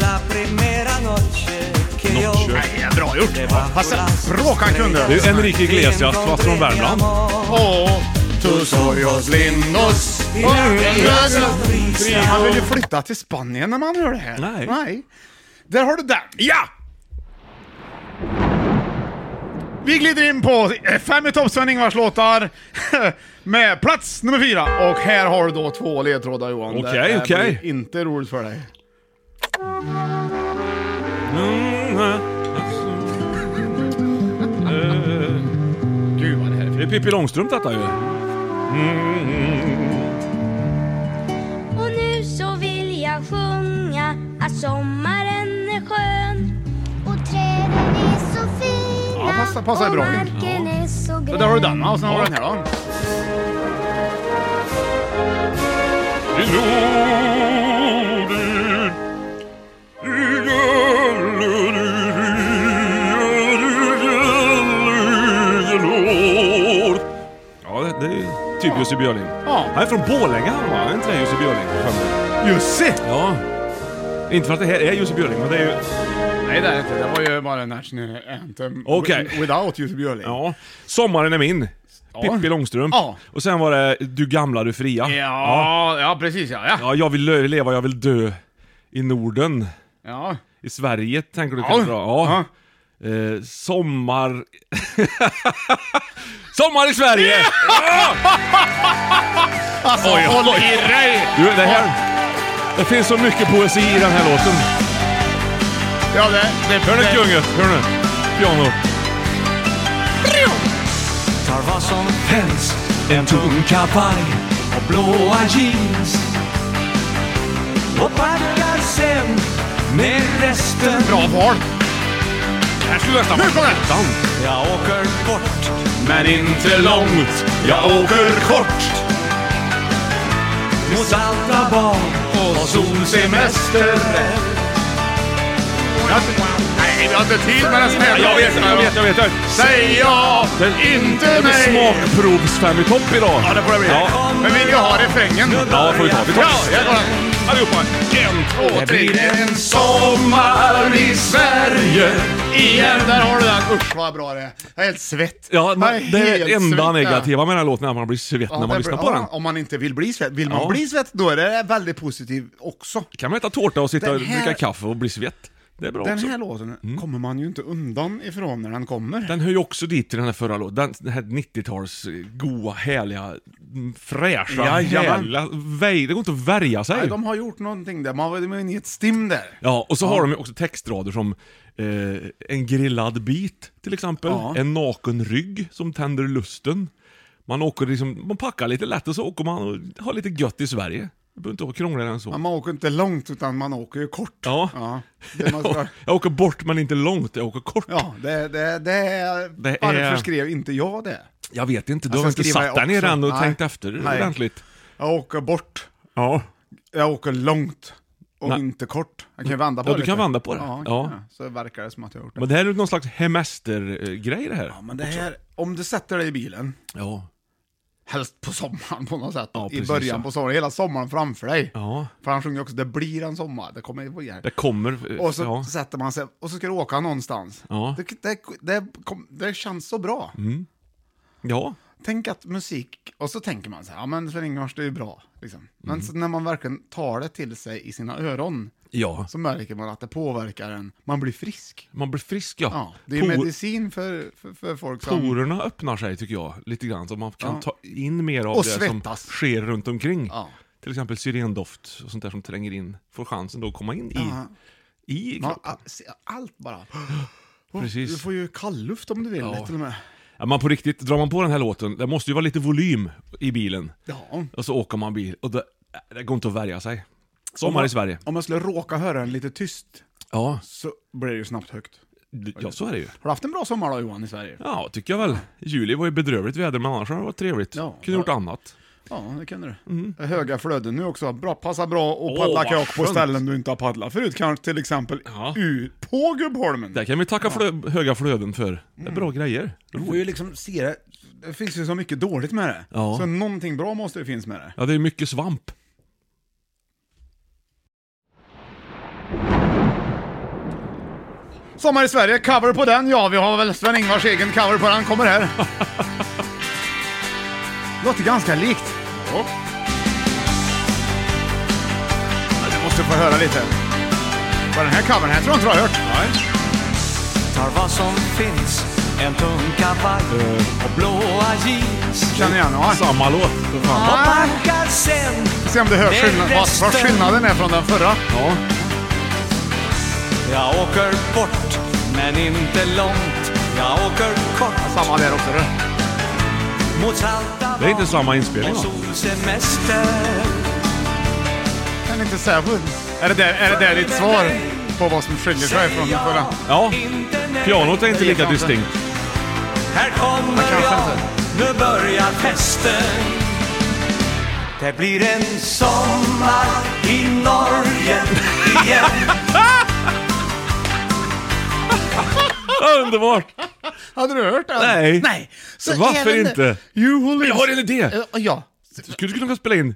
Speaker 5: la primera noche que yo
Speaker 2: Noche.
Speaker 1: Nej, Bra gjort! Fast språk han kunde!
Speaker 2: Det är ju Enrique Iglesias fast från Värmland.
Speaker 1: Åh, tus hoyos lindos. Han vill ju flytta till Spanien när man hör det här.
Speaker 2: Nej.
Speaker 1: Där har du den. Ja! Vi glider in på eh, fem i topp Sven-Ingvars låtar med plats nummer fyra. Och här har du då två ledtrådar Johan.
Speaker 2: Okej,
Speaker 1: Det här
Speaker 2: okej.
Speaker 1: blir inte roligt för dig. Gud vad det här är
Speaker 2: Det är Pippi Långstrump detta ju.
Speaker 3: Och nu så vill jag sjunga att sommaren är skön Och träden är så fina
Speaker 1: Ja, passa- passa
Speaker 3: och
Speaker 1: bra in.
Speaker 3: marken är så grön
Speaker 1: Så där har du denna och sen har du den här då.
Speaker 2: Ja, det- det är ju typ Jussi Björling.
Speaker 1: Ja.
Speaker 2: Han är från Borlänge han va? Är inte det Jussi Björling? Fan.
Speaker 1: Jussi!
Speaker 2: Ja. Inte för att det här är Jussi Björling, men det är ju...
Speaker 1: Nej det är det inte, det var ju bara National Anthem.
Speaker 2: Okej.
Speaker 1: Wi- Without Jussi Björling.
Speaker 2: Ja. Sommaren är min. Pippi Långstrump.
Speaker 1: Ja.
Speaker 2: Och sen var det Du gamla, du fria.
Speaker 1: Ja, ja precis ja. Ja.
Speaker 2: Ja, jag vill lö- leva, jag vill dö. I Norden.
Speaker 1: ja.
Speaker 2: I Sverige tänker du
Speaker 1: Ja.
Speaker 2: kanske då? Ja. Eh, sommar... sommar i Sverige!
Speaker 1: Alltså
Speaker 2: Oj,
Speaker 1: håll
Speaker 2: oj.
Speaker 1: i dig!
Speaker 2: Du, det här... Det finns så mycket poesi i den här låten.
Speaker 1: Ja det, det,
Speaker 2: Hör nu
Speaker 1: det-
Speaker 2: gunget, hör nu. Piano.
Speaker 5: tar vad som
Speaker 2: Päls, en tung kavaj och blåa jeans.
Speaker 5: och packar sen med resten.
Speaker 1: Bra val!
Speaker 2: Här skulle nästan
Speaker 1: Nu kommer den!
Speaker 5: Jag åker bort,
Speaker 2: Men inte långt, jag åker kort.
Speaker 5: mot andra barn
Speaker 1: Och solsemester! Jag- Nej, vi har inte tid med den här
Speaker 2: Jag vet, jag vet, jag vet.
Speaker 1: Säg ja, inte
Speaker 2: Det blir
Speaker 1: nej!
Speaker 2: smakprovsfem i topp idag.
Speaker 1: Ja det får det bli.
Speaker 2: Ja.
Speaker 1: Men vill vi ha refrängen?
Speaker 2: Ja, får vi ta. Vi tar
Speaker 1: Ja, jag tar den.
Speaker 2: allihopa. En,
Speaker 1: två, tre. En sommar i Sverige igen. Där har du den. Usch vad bra det är. Jag är helt svett.
Speaker 2: Ja,
Speaker 1: Jag är
Speaker 2: men det är
Speaker 1: helt
Speaker 2: det enda
Speaker 1: svett.
Speaker 2: negativa med den här låten är att man blir svett
Speaker 1: Ja,
Speaker 2: när man
Speaker 1: därför-
Speaker 2: lyssnar på
Speaker 1: ja,
Speaker 2: den.
Speaker 1: Om man inte vill bli svett. Vill man
Speaker 2: Ja.
Speaker 1: bli svett då är det väldigt positivt också.
Speaker 2: Kan man äta tårta och sitta och
Speaker 1: Den här-
Speaker 2: dricka kaffe och bli svett? Det är bra
Speaker 1: Den
Speaker 2: också. Mm.
Speaker 1: här låten kommer man ju inte undan ifrån när den kommer.
Speaker 2: Den hör ju också dit till den här förra låten. Den, den här 90-tals eh, goa, härliga, mm, fräscha,
Speaker 1: Jajamän.
Speaker 2: härliga... Väj, det går inte att värja sig.
Speaker 1: Nej, de har gjort någonting där. Man var de var inne i ett stim där.
Speaker 2: Ja, och så har de ju också textrader som eh, en grillad bit till exempel,
Speaker 1: Ja.
Speaker 2: en naken rygg som tänder lusten. Man åker liksom, man packar lite lätt och så åker man och har lite gött i Sverige. Det behöver inte vara krångligare än så.
Speaker 1: Men man åker inte långt utan man åker ju kort.
Speaker 2: Ja.
Speaker 1: Ja, det, man ska,
Speaker 2: Jag åker bort men inte långt, jag åker kort.
Speaker 1: ja, det, det, det, är-
Speaker 2: Det är-
Speaker 1: Varför skrev inte jag det?
Speaker 2: Jag vet inte, du
Speaker 1: Jag
Speaker 2: har
Speaker 1: ska
Speaker 2: inte
Speaker 1: skriva
Speaker 2: satt där
Speaker 1: också.
Speaker 2: nere än och
Speaker 1: Nej.
Speaker 2: tänkt efter
Speaker 1: Nej.
Speaker 2: ordentligt.
Speaker 1: Jag åker bort.
Speaker 2: Ja.
Speaker 1: Jag åker långt. och
Speaker 2: Nej.
Speaker 1: inte kort. Jag kan ju vända på
Speaker 2: Ja,
Speaker 1: det
Speaker 2: du kan
Speaker 1: lite.
Speaker 2: vända på det.
Speaker 1: Ja,
Speaker 2: Ja.
Speaker 1: kan jag. så verkar det som att jag har gjort det.
Speaker 2: Men det här är ju någon slags hemestergrej det här.
Speaker 1: ja, men det här, om du sätter dig i bilen,
Speaker 2: Ja.
Speaker 1: helst på sommaren på något sätt,
Speaker 2: Ja,
Speaker 1: i
Speaker 2: precis,
Speaker 1: början
Speaker 2: ja.
Speaker 1: på sommaren, hela sommaren framför dig.
Speaker 2: Ja.
Speaker 1: För han sjunger ju också 'Det blir en sommar', det kommer ju vara
Speaker 2: Det kommer... eh,
Speaker 1: Och så
Speaker 2: ja.
Speaker 1: sätter man sig, och så ska du åka någonstans.
Speaker 2: Ja. Mm.
Speaker 1: Det, det, det, kom, det känns så bra.
Speaker 2: ja.
Speaker 1: Tänk att musik, och så tänker man så här, ja men Sven-Ingvars det är ju bra. Liksom. Men
Speaker 2: Mm.
Speaker 1: så när man verkligen tar det till sig i sina öron,
Speaker 2: Ja.
Speaker 1: så märker man att det påverkar en, man blir frisk.
Speaker 2: Man blir frisk ja.
Speaker 1: Ja, det är ju
Speaker 2: Por-
Speaker 1: medicin för, för, för folk som...
Speaker 2: Porerna öppnar sig tycker jag, lite grann. Så man kan
Speaker 1: Ja.
Speaker 2: ta in mer av
Speaker 1: Och
Speaker 2: det
Speaker 1: svettas.
Speaker 2: som sker runt omkring.
Speaker 1: Ja.
Speaker 2: Till exempel syrendoft och sånt där som tränger in, får chansen då att komma in i,
Speaker 1: Ja.
Speaker 2: i
Speaker 1: Man,
Speaker 2: kroppen.
Speaker 1: a- allt bara.
Speaker 2: Precis.
Speaker 1: Du får ju kalluft om du vill
Speaker 2: Ja.
Speaker 1: till och med.
Speaker 2: Ja, man på riktigt, drar man på den här låten, det måste ju vara lite volym i bilen.
Speaker 1: Ja.
Speaker 2: Och så åker man bil och det, det går inte att värja sig.
Speaker 1: Om
Speaker 2: Sommar
Speaker 1: man-
Speaker 2: i Sverige.
Speaker 1: Om man skulle råka höra den lite tyst
Speaker 2: Ja.
Speaker 1: så blir det ju snabbt högt.
Speaker 2: ja, så är det ju.
Speaker 1: Har du haft en bra sommar då Johan i Sverige?
Speaker 2: Ja, tycker jag väl. Juli var ju bedrövligt väder, men annars har det varit trevligt.
Speaker 1: Ja.
Speaker 2: Kunde gjort annat.
Speaker 1: Ja, det kunde du. Det är Höga flöden nu också. Bra, passar bra att
Speaker 2: Mm. Åh,
Speaker 1: paddla
Speaker 2: vad
Speaker 1: kajak på
Speaker 2: skönt.
Speaker 1: ställen du inte har paddlat förut. Kanske till exempel
Speaker 2: Ja.
Speaker 1: ur, på Gubbholmen.
Speaker 2: Där kan vi tacka flö- höga flöden för. Det är bra grejer.
Speaker 1: Du Mm. får ju liksom se det. Det finns ju så mycket dåligt med det.
Speaker 2: Ja.
Speaker 1: Så någonting bra måste det finnas med det.
Speaker 2: Ja, det är mycket svamp.
Speaker 1: Sommar i Sverige, cover på den. Ja, vi har väl Sven-Ingvars egen cover på den. Kommer här. Låter ganska likt. Ja. Men Du måste få höra lite. Vad den här covern här tror jag inte du har hört.
Speaker 5: Tar vad som finns En tung kavaj och blåa jeans
Speaker 1: Känner igen den va?
Speaker 2: Samma låt, för fan.
Speaker 5: Och backar sen
Speaker 1: Se om du hör skillnad, vad, vad skillnaden är från den förra.
Speaker 2: Ja.
Speaker 5: Jag åker bort men inte långt Jag åker kort
Speaker 1: Samma där också du.
Speaker 5: mot Salta
Speaker 2: Alltså, Det är inte samma inspelning
Speaker 5: och
Speaker 2: va?
Speaker 5: solsemester
Speaker 1: Kan inte säga på. Är det där, är det där ditt svar på vad som skiljer sig från den förra?
Speaker 2: Ja.
Speaker 5: Inte nej.
Speaker 2: Pianot är inte
Speaker 1: vet
Speaker 2: lika
Speaker 1: jag inte.
Speaker 2: distinkt.
Speaker 5: Här kommer
Speaker 1: kanske
Speaker 5: jag,
Speaker 1: inte.
Speaker 5: nu börjar festen Det blir en sommar i Norge igen
Speaker 2: Underbart!
Speaker 1: Hade du hört den?
Speaker 2: Nej.
Speaker 1: Nej. Så
Speaker 2: Varför
Speaker 1: är den-
Speaker 2: inte?
Speaker 1: You will
Speaker 2: Jag har en idé!
Speaker 1: Eh, Ja.
Speaker 2: Skulle du kunna spela in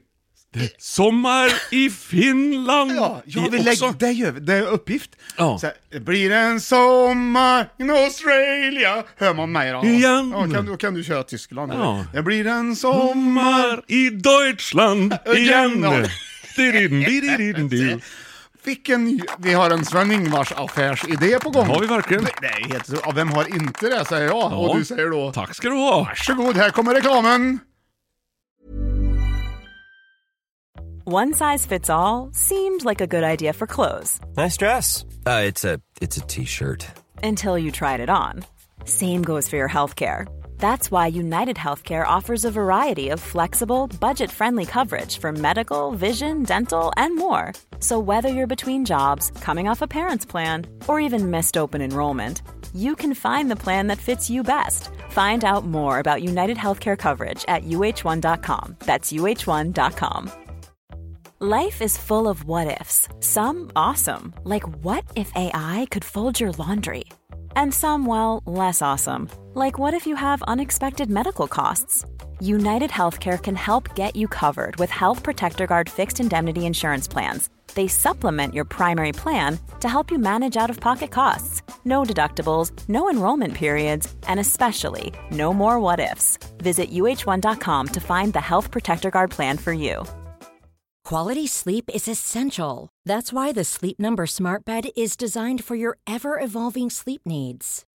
Speaker 2: Sommar i Finland?
Speaker 1: Ja, jag
Speaker 2: i
Speaker 1: vill lägga,
Speaker 2: också.
Speaker 1: det gör vi, det är uppgift.
Speaker 2: Ja.
Speaker 1: Så här, det blir en sommar in Australia, hör man mig då?
Speaker 2: Igen.
Speaker 1: Ja, kan, då kan du köra Tyskland.
Speaker 2: Ja.
Speaker 1: Det blir en sommar...
Speaker 2: Sommar i Deutschland igen!
Speaker 1: Ja.
Speaker 2: Dirin, dirin, dirin.
Speaker 1: Vilken ny... Vi har en Sven-Ingvars affärsidé på gång.
Speaker 2: Har vi verkligen?
Speaker 1: Det är helt så. Ja, vem har inte det, säger jag. Och du säger då...
Speaker 2: Tack ska du ha!
Speaker 1: Varsågod, här kommer reklamen!
Speaker 6: One size fits all seemed like a good idea for clothes
Speaker 7: Nice dress. Uh, it's a it's a t-shirt.
Speaker 6: until you tried it on. Same goes for your healthcare. That's why United Healthcare offers a variety of flexible, budget friendly coverage for medical, vision, dental, and more. So, whether you're between jobs, coming off a parent's plan, or even missed open enrollment, you can find the plan that fits you best. Find out more about United Healthcare coverage at uh1.com. That's uh1.com. Life is full of what ifs. Some awesome, like what if AI could fold your laundry? And some, well, less awesome, like what if you have unexpected medical costs? United Healthcare can help get you covered with Health Protector Guard fixed indemnity insurance plans. They supplement your primary plan to help you manage out of pocket costs. No deductibles, no enrollment periods, and especially no more what ifs. Visit uh1.com to find the Health Protector Guard plan for you.
Speaker 8: Quality sleep is essential. That's why the Sleep Number Smart Bed is designed for your ever evolving sleep needs.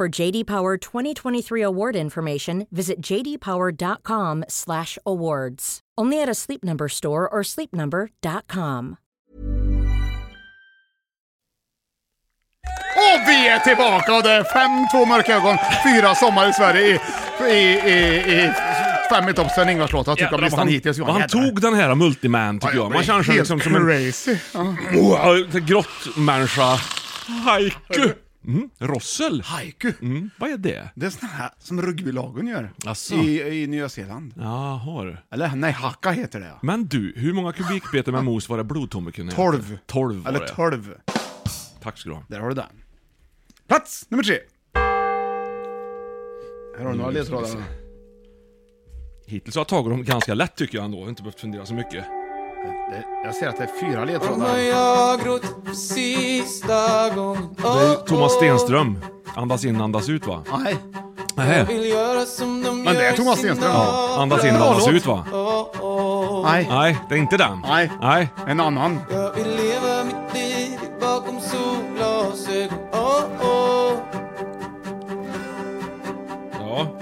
Speaker 8: For JD Power 2023 award information, visit jdpower.com/awards. Only at a Sleep Number store or sleepnumber.com.
Speaker 1: Åh, Och vi är tillbaka och det är fem, två mörka ögon, fyra sommar i Sverige i, i, i, i fem i topp Sven-Ingvars-låtar tycker jag på listan hittills.
Speaker 2: Och han tog den här Multiman tycker jag. Man känner sig liksom som en
Speaker 1: crazy. Ja.
Speaker 2: oh, grottmänniska. Haiku! Mm, rossel?
Speaker 1: Haiku.
Speaker 2: Mm, vad är det?
Speaker 1: Det är såna här som rugbylagen gör
Speaker 2: Asså.
Speaker 1: i, i Nya Zeeland.
Speaker 2: Jaha.
Speaker 1: Eller nej, hacka heter det. ja.
Speaker 2: Men du, hur många kubikmeter med mos var det blodtombe kunde heta?
Speaker 1: Tolv.
Speaker 2: Tolv var
Speaker 1: Eller
Speaker 2: det.
Speaker 1: tolv.
Speaker 2: Tack ska du ha.
Speaker 1: Där har du den. Plats nummer tre. Här har du
Speaker 2: Mm,
Speaker 1: några ledtrådar.
Speaker 2: Hittills har jag tagit dem ganska lätt tycker jag ändå. Jag har inte behövt fundera så mycket.
Speaker 1: Det- Jag ser att det är fyra ledtrådar.
Speaker 2: Det är Thomas Stenström. Andas in, andas ut va?
Speaker 1: Nej,
Speaker 2: Nej.
Speaker 1: men det är Thomas Stenström.
Speaker 2: Ja, andas in,
Speaker 1: Bra
Speaker 2: andas
Speaker 1: låt.
Speaker 2: ut va?
Speaker 1: Nej,
Speaker 2: Nej, det är inte den.
Speaker 1: Nej.
Speaker 2: Nej.
Speaker 1: en annan.
Speaker 2: Ja.
Speaker 4: Oh,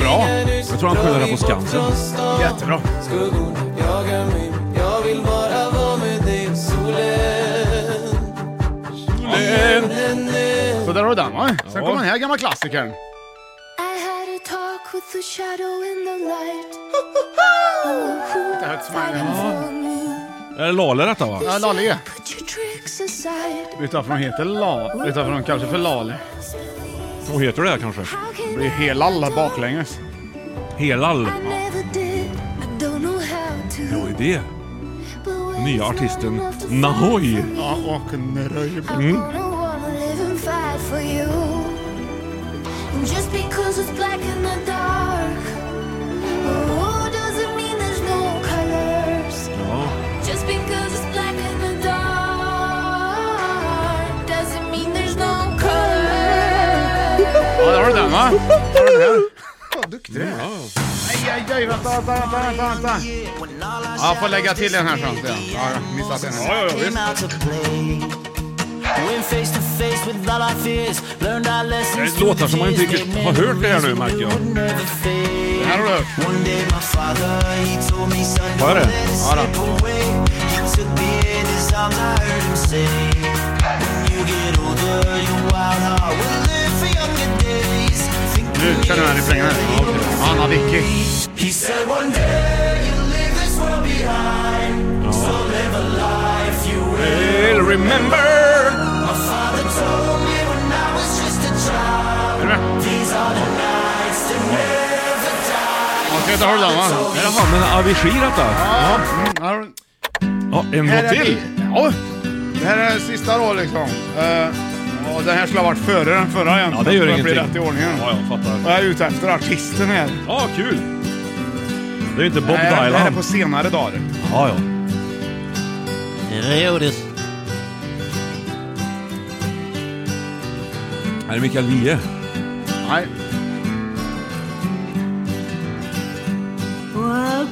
Speaker 2: Bra. Jag tror han skyller det på Skansen.
Speaker 1: Jättebra. Så där har du den va? Sen kommer den här gamla klassikern.
Speaker 3: I had a talk with the shadow in the light.
Speaker 1: That's my-
Speaker 2: Är det Lale detta va?
Speaker 1: Ja, Lalle.
Speaker 3: Put your tricks aside.
Speaker 1: Vet du varför de heter La? Vet du varför de kallar sig för Lale?
Speaker 2: Hon heter det här kanske?
Speaker 3: How can
Speaker 1: Det blir hela alla baklänges.
Speaker 2: Helal.
Speaker 3: I never did. I don't know how to.
Speaker 2: Bra idé.
Speaker 3: but when
Speaker 2: Nya
Speaker 3: it's not
Speaker 2: artisten
Speaker 3: enough to
Speaker 2: Nahoy.
Speaker 3: fight for me,
Speaker 1: Ja, och nöj.
Speaker 3: I'm gonna wanna live and fight for you. And just because it's black in the dark, oh, doesn't mean there's no colors.
Speaker 2: Ja.
Speaker 3: Just because it's black in the dark doesn't mean there's no color.
Speaker 1: Ja, där har du den va? Där har du den här. Vad duktig du är. Aj, aj, aj, vänta, vänta, vänta, vänta. Ja, jag får lägga till den här sen. Ja, jag har missat den. här.
Speaker 2: ja, visst. Det är låtar som man inte riktigt har hört det här nu märker jag.
Speaker 1: Den här har du hört.
Speaker 2: Vad är det?
Speaker 1: Ja, då. Nu kör du den här refrängen här. Anna Vicky.
Speaker 2: Well, remember!
Speaker 1: Är du med? Okej, där har du den va?
Speaker 2: Är det han med Avicii detta?
Speaker 1: Ja. Mm, där har du-
Speaker 2: Ja, en
Speaker 1: Här
Speaker 2: låt
Speaker 1: är
Speaker 2: till.
Speaker 1: vi. Ja, det här är sista då liksom. Eh, ja, den här skulle ha varit före den förra egentligen.
Speaker 2: Ja, det gör
Speaker 1: för att bli
Speaker 2: ingenting.
Speaker 1: rätt i ordningen.
Speaker 2: Ja, jag fattar.
Speaker 1: Jag är ute efter artisten här.
Speaker 2: Ja, kul! Det är ju inte Bob
Speaker 1: Nej, det här är
Speaker 2: Dylan.
Speaker 1: på senare dagar.
Speaker 2: Ja, ja. Är det Mikael Wiehe?
Speaker 1: Nej.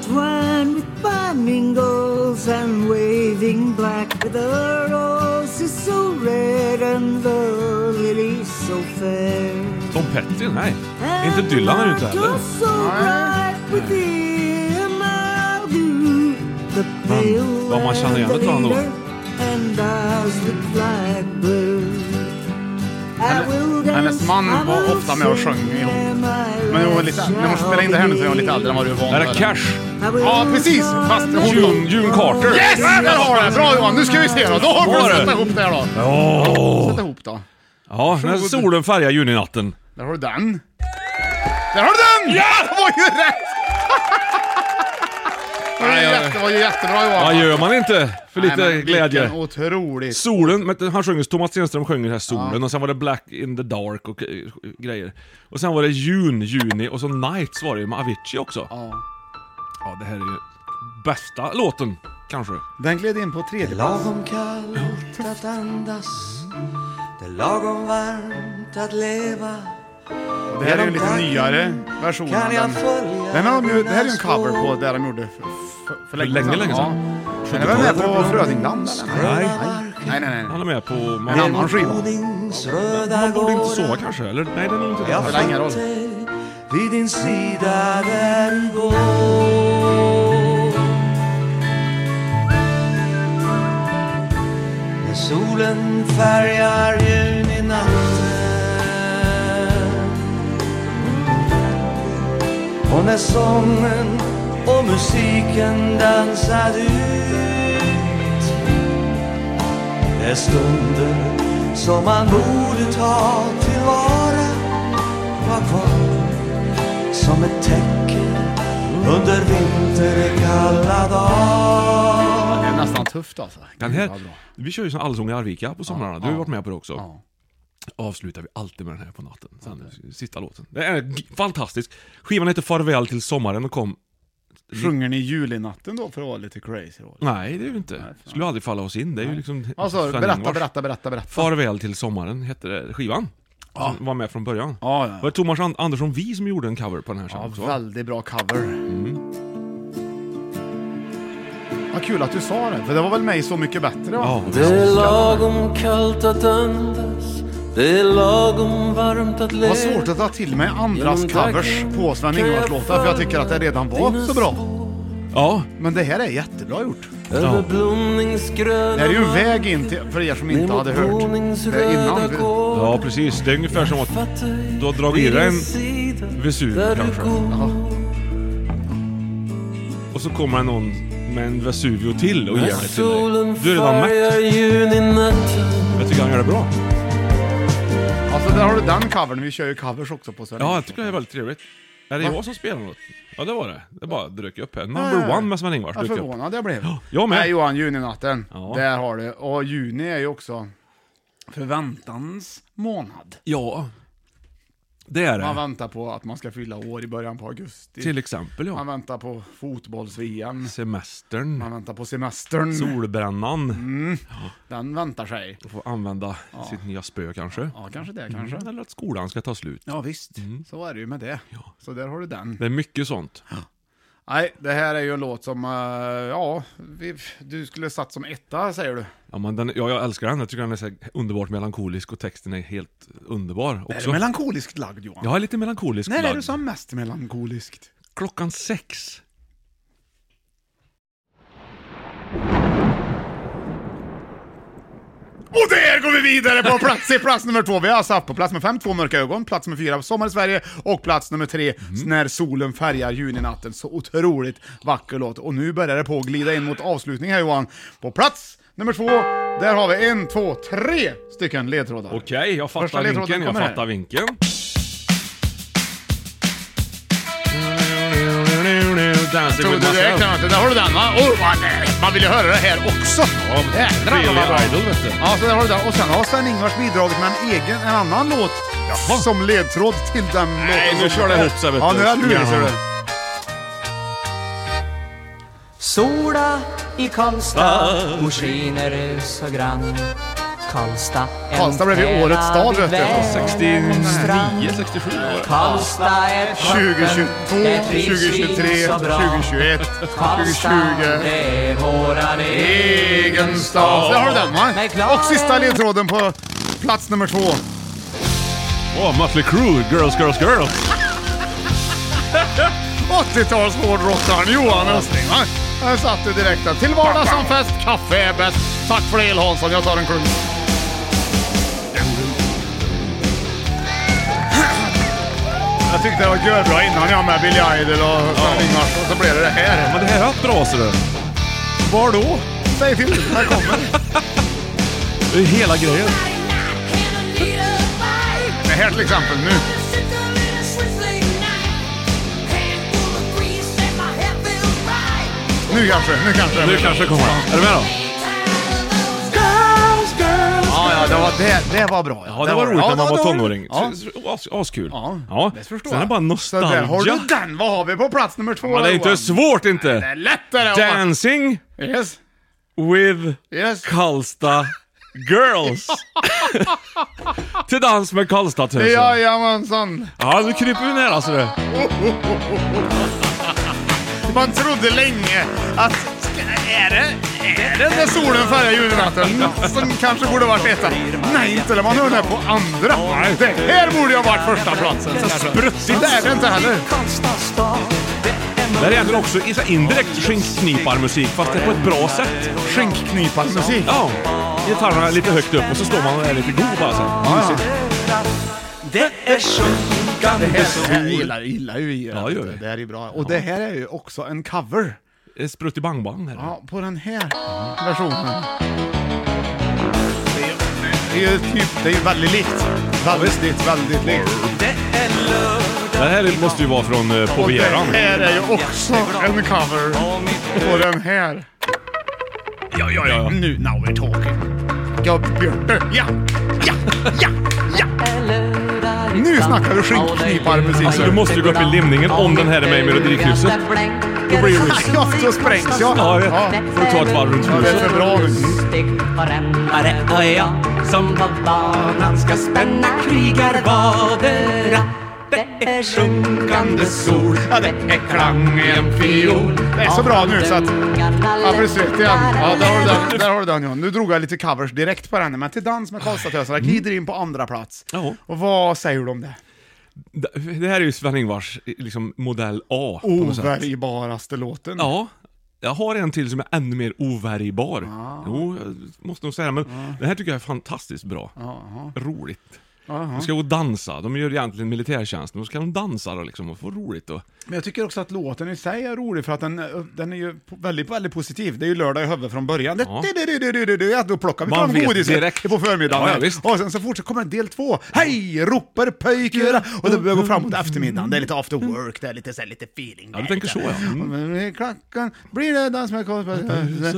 Speaker 9: twine with flamingos and waving black. The rose is so red and the lily so fair.
Speaker 2: Tom Petty? Nej. Inte Dylan är det inte heller.
Speaker 9: Men
Speaker 2: vad man känner igen utav honom.
Speaker 1: hennes man var ofta med och sjöng ihop. Men hon var lite, när hon spelade in det här nu så var hon lite äldre än vad du är van
Speaker 2: Är det
Speaker 1: vid.
Speaker 2: Cash?
Speaker 1: Ja, precis! Fast hon då.
Speaker 2: June, June Carter?
Speaker 1: Yes! Där har du det! Bra Johan! Nu ska vi se då. Då
Speaker 2: Var
Speaker 1: har du
Speaker 2: det?
Speaker 1: sätta ihop det här då.
Speaker 2: Åh!
Speaker 1: Sätta ihop då.
Speaker 2: Ja, när solen färgar juninatten.
Speaker 1: Där har du den. Där har du den! Ja! Det var ju rätt! Det var ju,
Speaker 2: Nej, jag-
Speaker 1: jätte, det var ju jättebra Johan.
Speaker 2: Vad gör man inte för lite
Speaker 1: Nej, men vilken
Speaker 2: glädje?
Speaker 1: otroligt.
Speaker 2: Solen, men han sjunger, Thomas Stenström sjunger den här solen och sen var det Black in the dark och eh, grejer. Och sen var det June, juni och så Nights var det ju med Avicii också.
Speaker 1: Ja.
Speaker 2: Ja, det här är ju bästa låten, kanske.
Speaker 1: Den gled in på tredje plats.
Speaker 5: Lagom kallt att andas Det är lagom varmt att leva
Speaker 1: Det här är ju en lite nyare version. av
Speaker 5: Kan jag
Speaker 1: Den.
Speaker 5: följa
Speaker 1: Den har de ju, det här är ju en
Speaker 5: dina
Speaker 1: cover
Speaker 5: spår?
Speaker 1: på det de gjorde för, för, för
Speaker 2: länge, länge sedan.
Speaker 1: Ja. Den är väl med på Frödingland eller?
Speaker 5: Gröna marsch
Speaker 1: Nej, nej, nej.
Speaker 2: Han är med på... En
Speaker 1: annan skiva.
Speaker 2: Man borde inte sova kanske, eller? Nej, den är inte
Speaker 1: Ja,
Speaker 2: där.
Speaker 1: spelar ingen roll.
Speaker 4: Vid din sida där du går När solen färgar juninatten Och när sången och musiken dansar ut Det är stunder som man borde ta tillvara Var kvar som ett täcke under vinterkalla dagar
Speaker 1: Det är nästan tufft alltså.
Speaker 2: Den
Speaker 1: Gud, vad
Speaker 2: här,
Speaker 1: bra.
Speaker 2: vi kör ju sån allsång i Arvika på somrarna, du har ju
Speaker 1: ja.
Speaker 2: varit med på det också.
Speaker 1: Ja.
Speaker 2: Avslutar vi alltid med den här på natten, sen sista låten. Det är g- fantastisk. Skivan heter Farväl till sommaren och kom...
Speaker 1: Sjunger ni julinatten då för att vara lite crazy? Då?
Speaker 2: Nej, det är ju inte. Skulle aldrig falla oss in, det är ju liksom...
Speaker 1: Alltså,
Speaker 2: Sven
Speaker 1: berätta,
Speaker 2: Ingvars.
Speaker 1: berätta, berätta, berätta.
Speaker 2: Farväl till sommaren hette det, skivan. Som var med från början.
Speaker 1: Ja,
Speaker 2: Det
Speaker 1: ja.
Speaker 2: var Thomas An- Andersson Vi som gjorde en cover på den här sen
Speaker 1: ja
Speaker 2: också.
Speaker 1: väldigt bra cover.
Speaker 2: Mm.
Speaker 1: Vad kul att du sa det, för det var väl mig Så Mycket Bättre? Va?
Speaker 2: Ja,
Speaker 4: Det är lagom kallt att andas Det är lagom varmt att le
Speaker 1: Vad svårt att ta till mig andras covers på Sven-Ingvars-låtar, för jag tycker att det redan var så bra.
Speaker 2: ja.
Speaker 1: Men det här är jättebra gjort.
Speaker 4: Över blomningsgröna
Speaker 1: Det här är ju en väg in till, för er som inte hade hört det innan.
Speaker 2: ja precis. Det är ungefär som att du har dragit i dig en Vesuvio kanske. Och så kommer det någon med en Vesuvio till och ger det till dig. Du är redan mätt. Jag tycker han gör det bra.
Speaker 1: Alltså där har du den covern, vi kör ju covers också på Sven
Speaker 2: Ja,
Speaker 1: Ingvars.
Speaker 2: jag tycker det är väldigt trevligt. Är det
Speaker 1: Va?
Speaker 2: jag som spelar något? Ja, det var det. Det bara dök upp här. Number one med Sven-Ingvars
Speaker 1: Vad
Speaker 2: dök upp.
Speaker 1: förvånad jag blev.
Speaker 2: jag med.
Speaker 1: Nej Johan, juninatten.
Speaker 2: Ja.
Speaker 1: Där har du. Och juni är ju också förväntans månad.
Speaker 2: Ja. Det är
Speaker 1: Man
Speaker 2: det.
Speaker 1: väntar på att man ska fylla år i början på augusti.
Speaker 2: Till exempel
Speaker 1: Man
Speaker 2: ja.
Speaker 1: väntar på fotbolls-VM. Man
Speaker 2: Semestern.
Speaker 1: väntar på semestern.
Speaker 2: Solbrännan.
Speaker 1: Den väntar sig.
Speaker 2: Får använda sitt nya spö kanske.
Speaker 1: Ja, kanske det kanske.
Speaker 2: Eller att skolan ska ta slut.
Speaker 1: Ja visst,
Speaker 2: Mm.
Speaker 1: så är det ju med det. Så där har du den.
Speaker 2: Det är mycket sånt.
Speaker 1: Nej, det här är ju en låt som, eh, ja, vi, du skulle satt som etta säger du.
Speaker 2: Ja, men den, ja, jag älskar den. Jag tycker den är så här underbart melankolisk och texten är helt underbar
Speaker 1: Är
Speaker 2: också.
Speaker 1: du melankoliskt lagd Johan?
Speaker 2: Jag är lite melankolisk
Speaker 1: När är
Speaker 2: lagd.
Speaker 1: du som mest melankoliskt?
Speaker 2: Klockan sex.
Speaker 1: Och där går vi vidare på plats, i plats nummer två. Vi har alltså haft på plats nummer fem, Två mörka ögon, plats nummer fyra, Sommar i Sverige och plats nummer tre,
Speaker 2: Mm.
Speaker 1: När solen färgar juninatten. Så otroligt vacker låt. Och nu börjar det på att glida in mot avslutning här Johan. På plats nummer två, där har vi en, två, tre stycken ledtrådar.
Speaker 2: Okej, jag
Speaker 1: Första
Speaker 2: fattar
Speaker 1: ledtråden
Speaker 2: vinkeln. Jag
Speaker 1: kommer här.
Speaker 2: fattar vinkeln. Dancing
Speaker 1: Tror du
Speaker 2: with
Speaker 1: det är
Speaker 2: myself.
Speaker 1: klart? Där har du den va? Oh, vad det- man vill ju höra det här också! Jädrar vad bra.
Speaker 2: Billy Idol, vet du.
Speaker 1: Ja, så där har du den. Och sen har Sven-Ingvars bidragit med en egen, en annan låt som ledtråd till den låten.
Speaker 2: nu
Speaker 1: som
Speaker 2: kör det
Speaker 1: är.
Speaker 2: ihop sig, vet
Speaker 1: Ja,
Speaker 2: du.
Speaker 1: nu är du det, ser du.
Speaker 4: Sola i Karlstad, hon skiner så grann Karlstad, en
Speaker 1: Karlstad blev ju
Speaker 4: pärla
Speaker 1: årets stad,
Speaker 4: vid
Speaker 1: vet du.
Speaker 4: vägens
Speaker 2: 69,
Speaker 4: strand.
Speaker 2: 67 år.
Speaker 4: Karlstad är
Speaker 1: 2022, 2023, 2021, 2020.
Speaker 4: är våran
Speaker 1: Egen stad. Där har du den
Speaker 4: Nej,
Speaker 1: va?
Speaker 4: klar.
Speaker 1: Och sista ledtråden på plats nummer två.
Speaker 2: Åh, Mötley Crüe, Girls, Girls, Girls.
Speaker 1: 80-tals hårdrockaren Johan Östling va? Här satt du direkt där. Till vardags som fest, kaffe är bäst. Tack för det El Hansson, jag tar en klunk. Jag tyckte det var görbra innan jag med Billy Idol och Sven-Ingvars och så blev det det här.
Speaker 2: Men det här är ett bra ser du.
Speaker 1: Var då? Säg till, här kommer det.
Speaker 2: Det är hela grejen.
Speaker 1: Det här till exempel nu. Nu kanske, nu kanske.
Speaker 2: Nu kanske det kommer. Är du med då?
Speaker 1: Ja, ja, det var, det, det var bra.
Speaker 2: Ja, det var roligt när man
Speaker 1: det
Speaker 2: var
Speaker 1: roligt.
Speaker 2: tonåring.
Speaker 1: Ja.
Speaker 2: Så- så- as- Askul.
Speaker 1: Ja, det förstår
Speaker 2: Sen är det
Speaker 1: jag.
Speaker 2: bara
Speaker 1: Så där har du
Speaker 2: nostalgia.
Speaker 1: den! Vad har vi på plats nummer två
Speaker 2: Ja, det är inte
Speaker 1: Johan?
Speaker 2: svårt inte.
Speaker 1: Det är lättare! Om
Speaker 2: Dancing
Speaker 1: man... Yes,
Speaker 2: with
Speaker 1: yes.
Speaker 2: Karlstad Girls. Till dans med Karlstadtösen. Ja,
Speaker 1: Jajamensan!
Speaker 2: nu kryper vi alltså, nära så det.
Speaker 1: Man trodde länge att... Ska, är det... Är Den där solen färgar junenatten, som kanske borde varit etta. Nej, inte när man hör den här på andra. Det här borde ju ha varit första platsen. Spruttigt. Det är det inte heller.
Speaker 2: Det här är egentligen också i- så här indirekt skinkkniparmusik, fast det är på ett bra sätt.
Speaker 1: Skinkkniparmusik?
Speaker 2: Ja. Gitarrerna är lite högt upp och så står man och är lite god bara så här. Mysigt.
Speaker 5: Det är sjunkande
Speaker 1: Jag gillar, gillar ju vi
Speaker 2: Ja, det gör vi.
Speaker 1: Det här är ju bra. Och det här är ju också en cover.
Speaker 2: Det är Sprutt i bang bang. här.
Speaker 1: Ja, på den här versionen. Mm. Det är ju typ, det är ju väldigt likt. Väldigt, väldigt likt.
Speaker 2: Det här måste ju vara från eh, På
Speaker 1: Och det
Speaker 2: begäran.
Speaker 1: här är ju också en cover på den här.
Speaker 2: Ja, ja, ja.
Speaker 1: Nu, now we're talking. Gubbjörte, ja, ja, ja, ja. Nu snackar du skinkkniparmusik.
Speaker 2: Alltså du måste ju gå upp i limningen om den här är med i Melodikrysset.
Speaker 1: Då blir det Ja, då sprängs jag.
Speaker 2: Ja, jag vet. Får du ta ett varv runt
Speaker 1: Ja, det är
Speaker 2: huset.
Speaker 1: för bra nu.
Speaker 5: Varenda är jag som på banan ska spänna krigarvadera Det är sjunkande sol, ja det är klang i en fiol
Speaker 1: Det är så bra nu så att... Ja, blir svettig igen. Ja, där har du den, där har du den Johan. Nu drog jag lite covers direkt på den, men till dans med Karlstadtösarna glider in på andra plats.
Speaker 2: Mm. Ja.
Speaker 1: Och vad säger du om det?
Speaker 2: Det här är ju Sven-Ingvars liksom, modell A. på något sätt.
Speaker 1: Ovärjbaraste låten.
Speaker 2: Ja. Jag har en till som är ännu mer ovärjbar. Jo, jag måste nog säga men den här tycker jag är fantastiskt bra. Roligt. De ska gå och dansa. De gör egentligen militärtjänsten, och så kan de dansa då liksom och få roligt och...
Speaker 1: Men jag tycker också att låten i sig är rolig för att den, eh, den är ju po- väldigt, väldigt positiv. Det är ju lördag i huvudet från början. Det,
Speaker 2: Ja.
Speaker 1: det, det, det, det, det, det, ja, då plockar vi
Speaker 2: Man
Speaker 1: fram
Speaker 2: vet
Speaker 1: godiset
Speaker 2: direkt.
Speaker 1: på förmiddagen.
Speaker 2: Ja, ja, visst.
Speaker 1: och sen så fortsätter, kommer en del två. Hej, ropar pöjkera! Och det börjar gå fram mot eftermiddagen. Det är lite after work, det är lite, så här, lite feeling.
Speaker 2: Ja, du tänker så ja. Mm.
Speaker 1: Mm. Klockan blir det dans med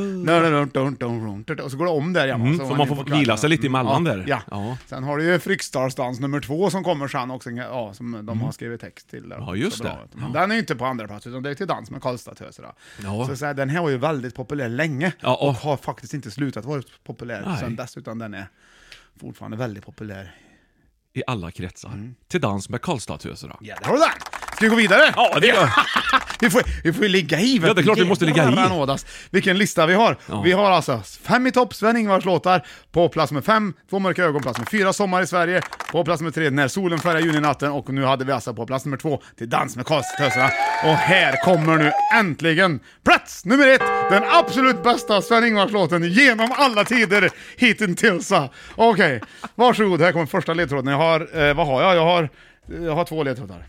Speaker 1: Karlsberg... Och så går det om där igen. så
Speaker 2: Mm, för
Speaker 1: var
Speaker 2: man
Speaker 1: ni
Speaker 2: får
Speaker 1: på
Speaker 2: vila
Speaker 1: kvällen.
Speaker 2: sig lite emellan
Speaker 1: ja,
Speaker 2: där.
Speaker 1: Ja.
Speaker 2: Ja.
Speaker 1: Sen har du ju Fryksdalsdans nummer två som kommer sen också, ja, som de har skrivit text till. där
Speaker 2: Mm. Ja,
Speaker 1: också,
Speaker 2: just det.
Speaker 1: vet du. Men Den är ju inte på andra plats utan det är till dans med Karlstadtöserna.
Speaker 2: Ja.
Speaker 1: Så, så här, den här var ju väldigt populär länge
Speaker 2: Ja,
Speaker 1: och
Speaker 2: och-
Speaker 1: har faktiskt inte slutat vara populär
Speaker 2: Nej.
Speaker 1: sen dess, utan den är fortfarande väldigt populär.
Speaker 2: I alla kretsar. Till dans med Karlstadtöserna.
Speaker 1: Ja, där har du den! Ska vi gå vidare?
Speaker 2: Ja, det gör
Speaker 1: Vi får, vi får ju ligga i. vet
Speaker 2: Ja, det är klart vi
Speaker 1: du.
Speaker 2: måste ligga i.
Speaker 1: Jävlar nådas. Vilken lista vi har.
Speaker 2: Ja.
Speaker 1: Vi har alltså fem i topp, Sven-Ingvars låtar. På plats med fem, Två mörka ögon, plats med fyra, Sommar i Sverige. På plats med tre, När solen färgar juninatten. Och nu hade vi alltså på plats nummer två, Till dans med Karlstadtöserna. Och här kommer nu äntligen plats nummer ett, den absolut bästa Sven-Ingvars låten genom alla tider hittills. Okej, varsågod. Här kommer första ledtråden. Jag har, eh, vad har jag? Jag har, jag har två ledtrådar.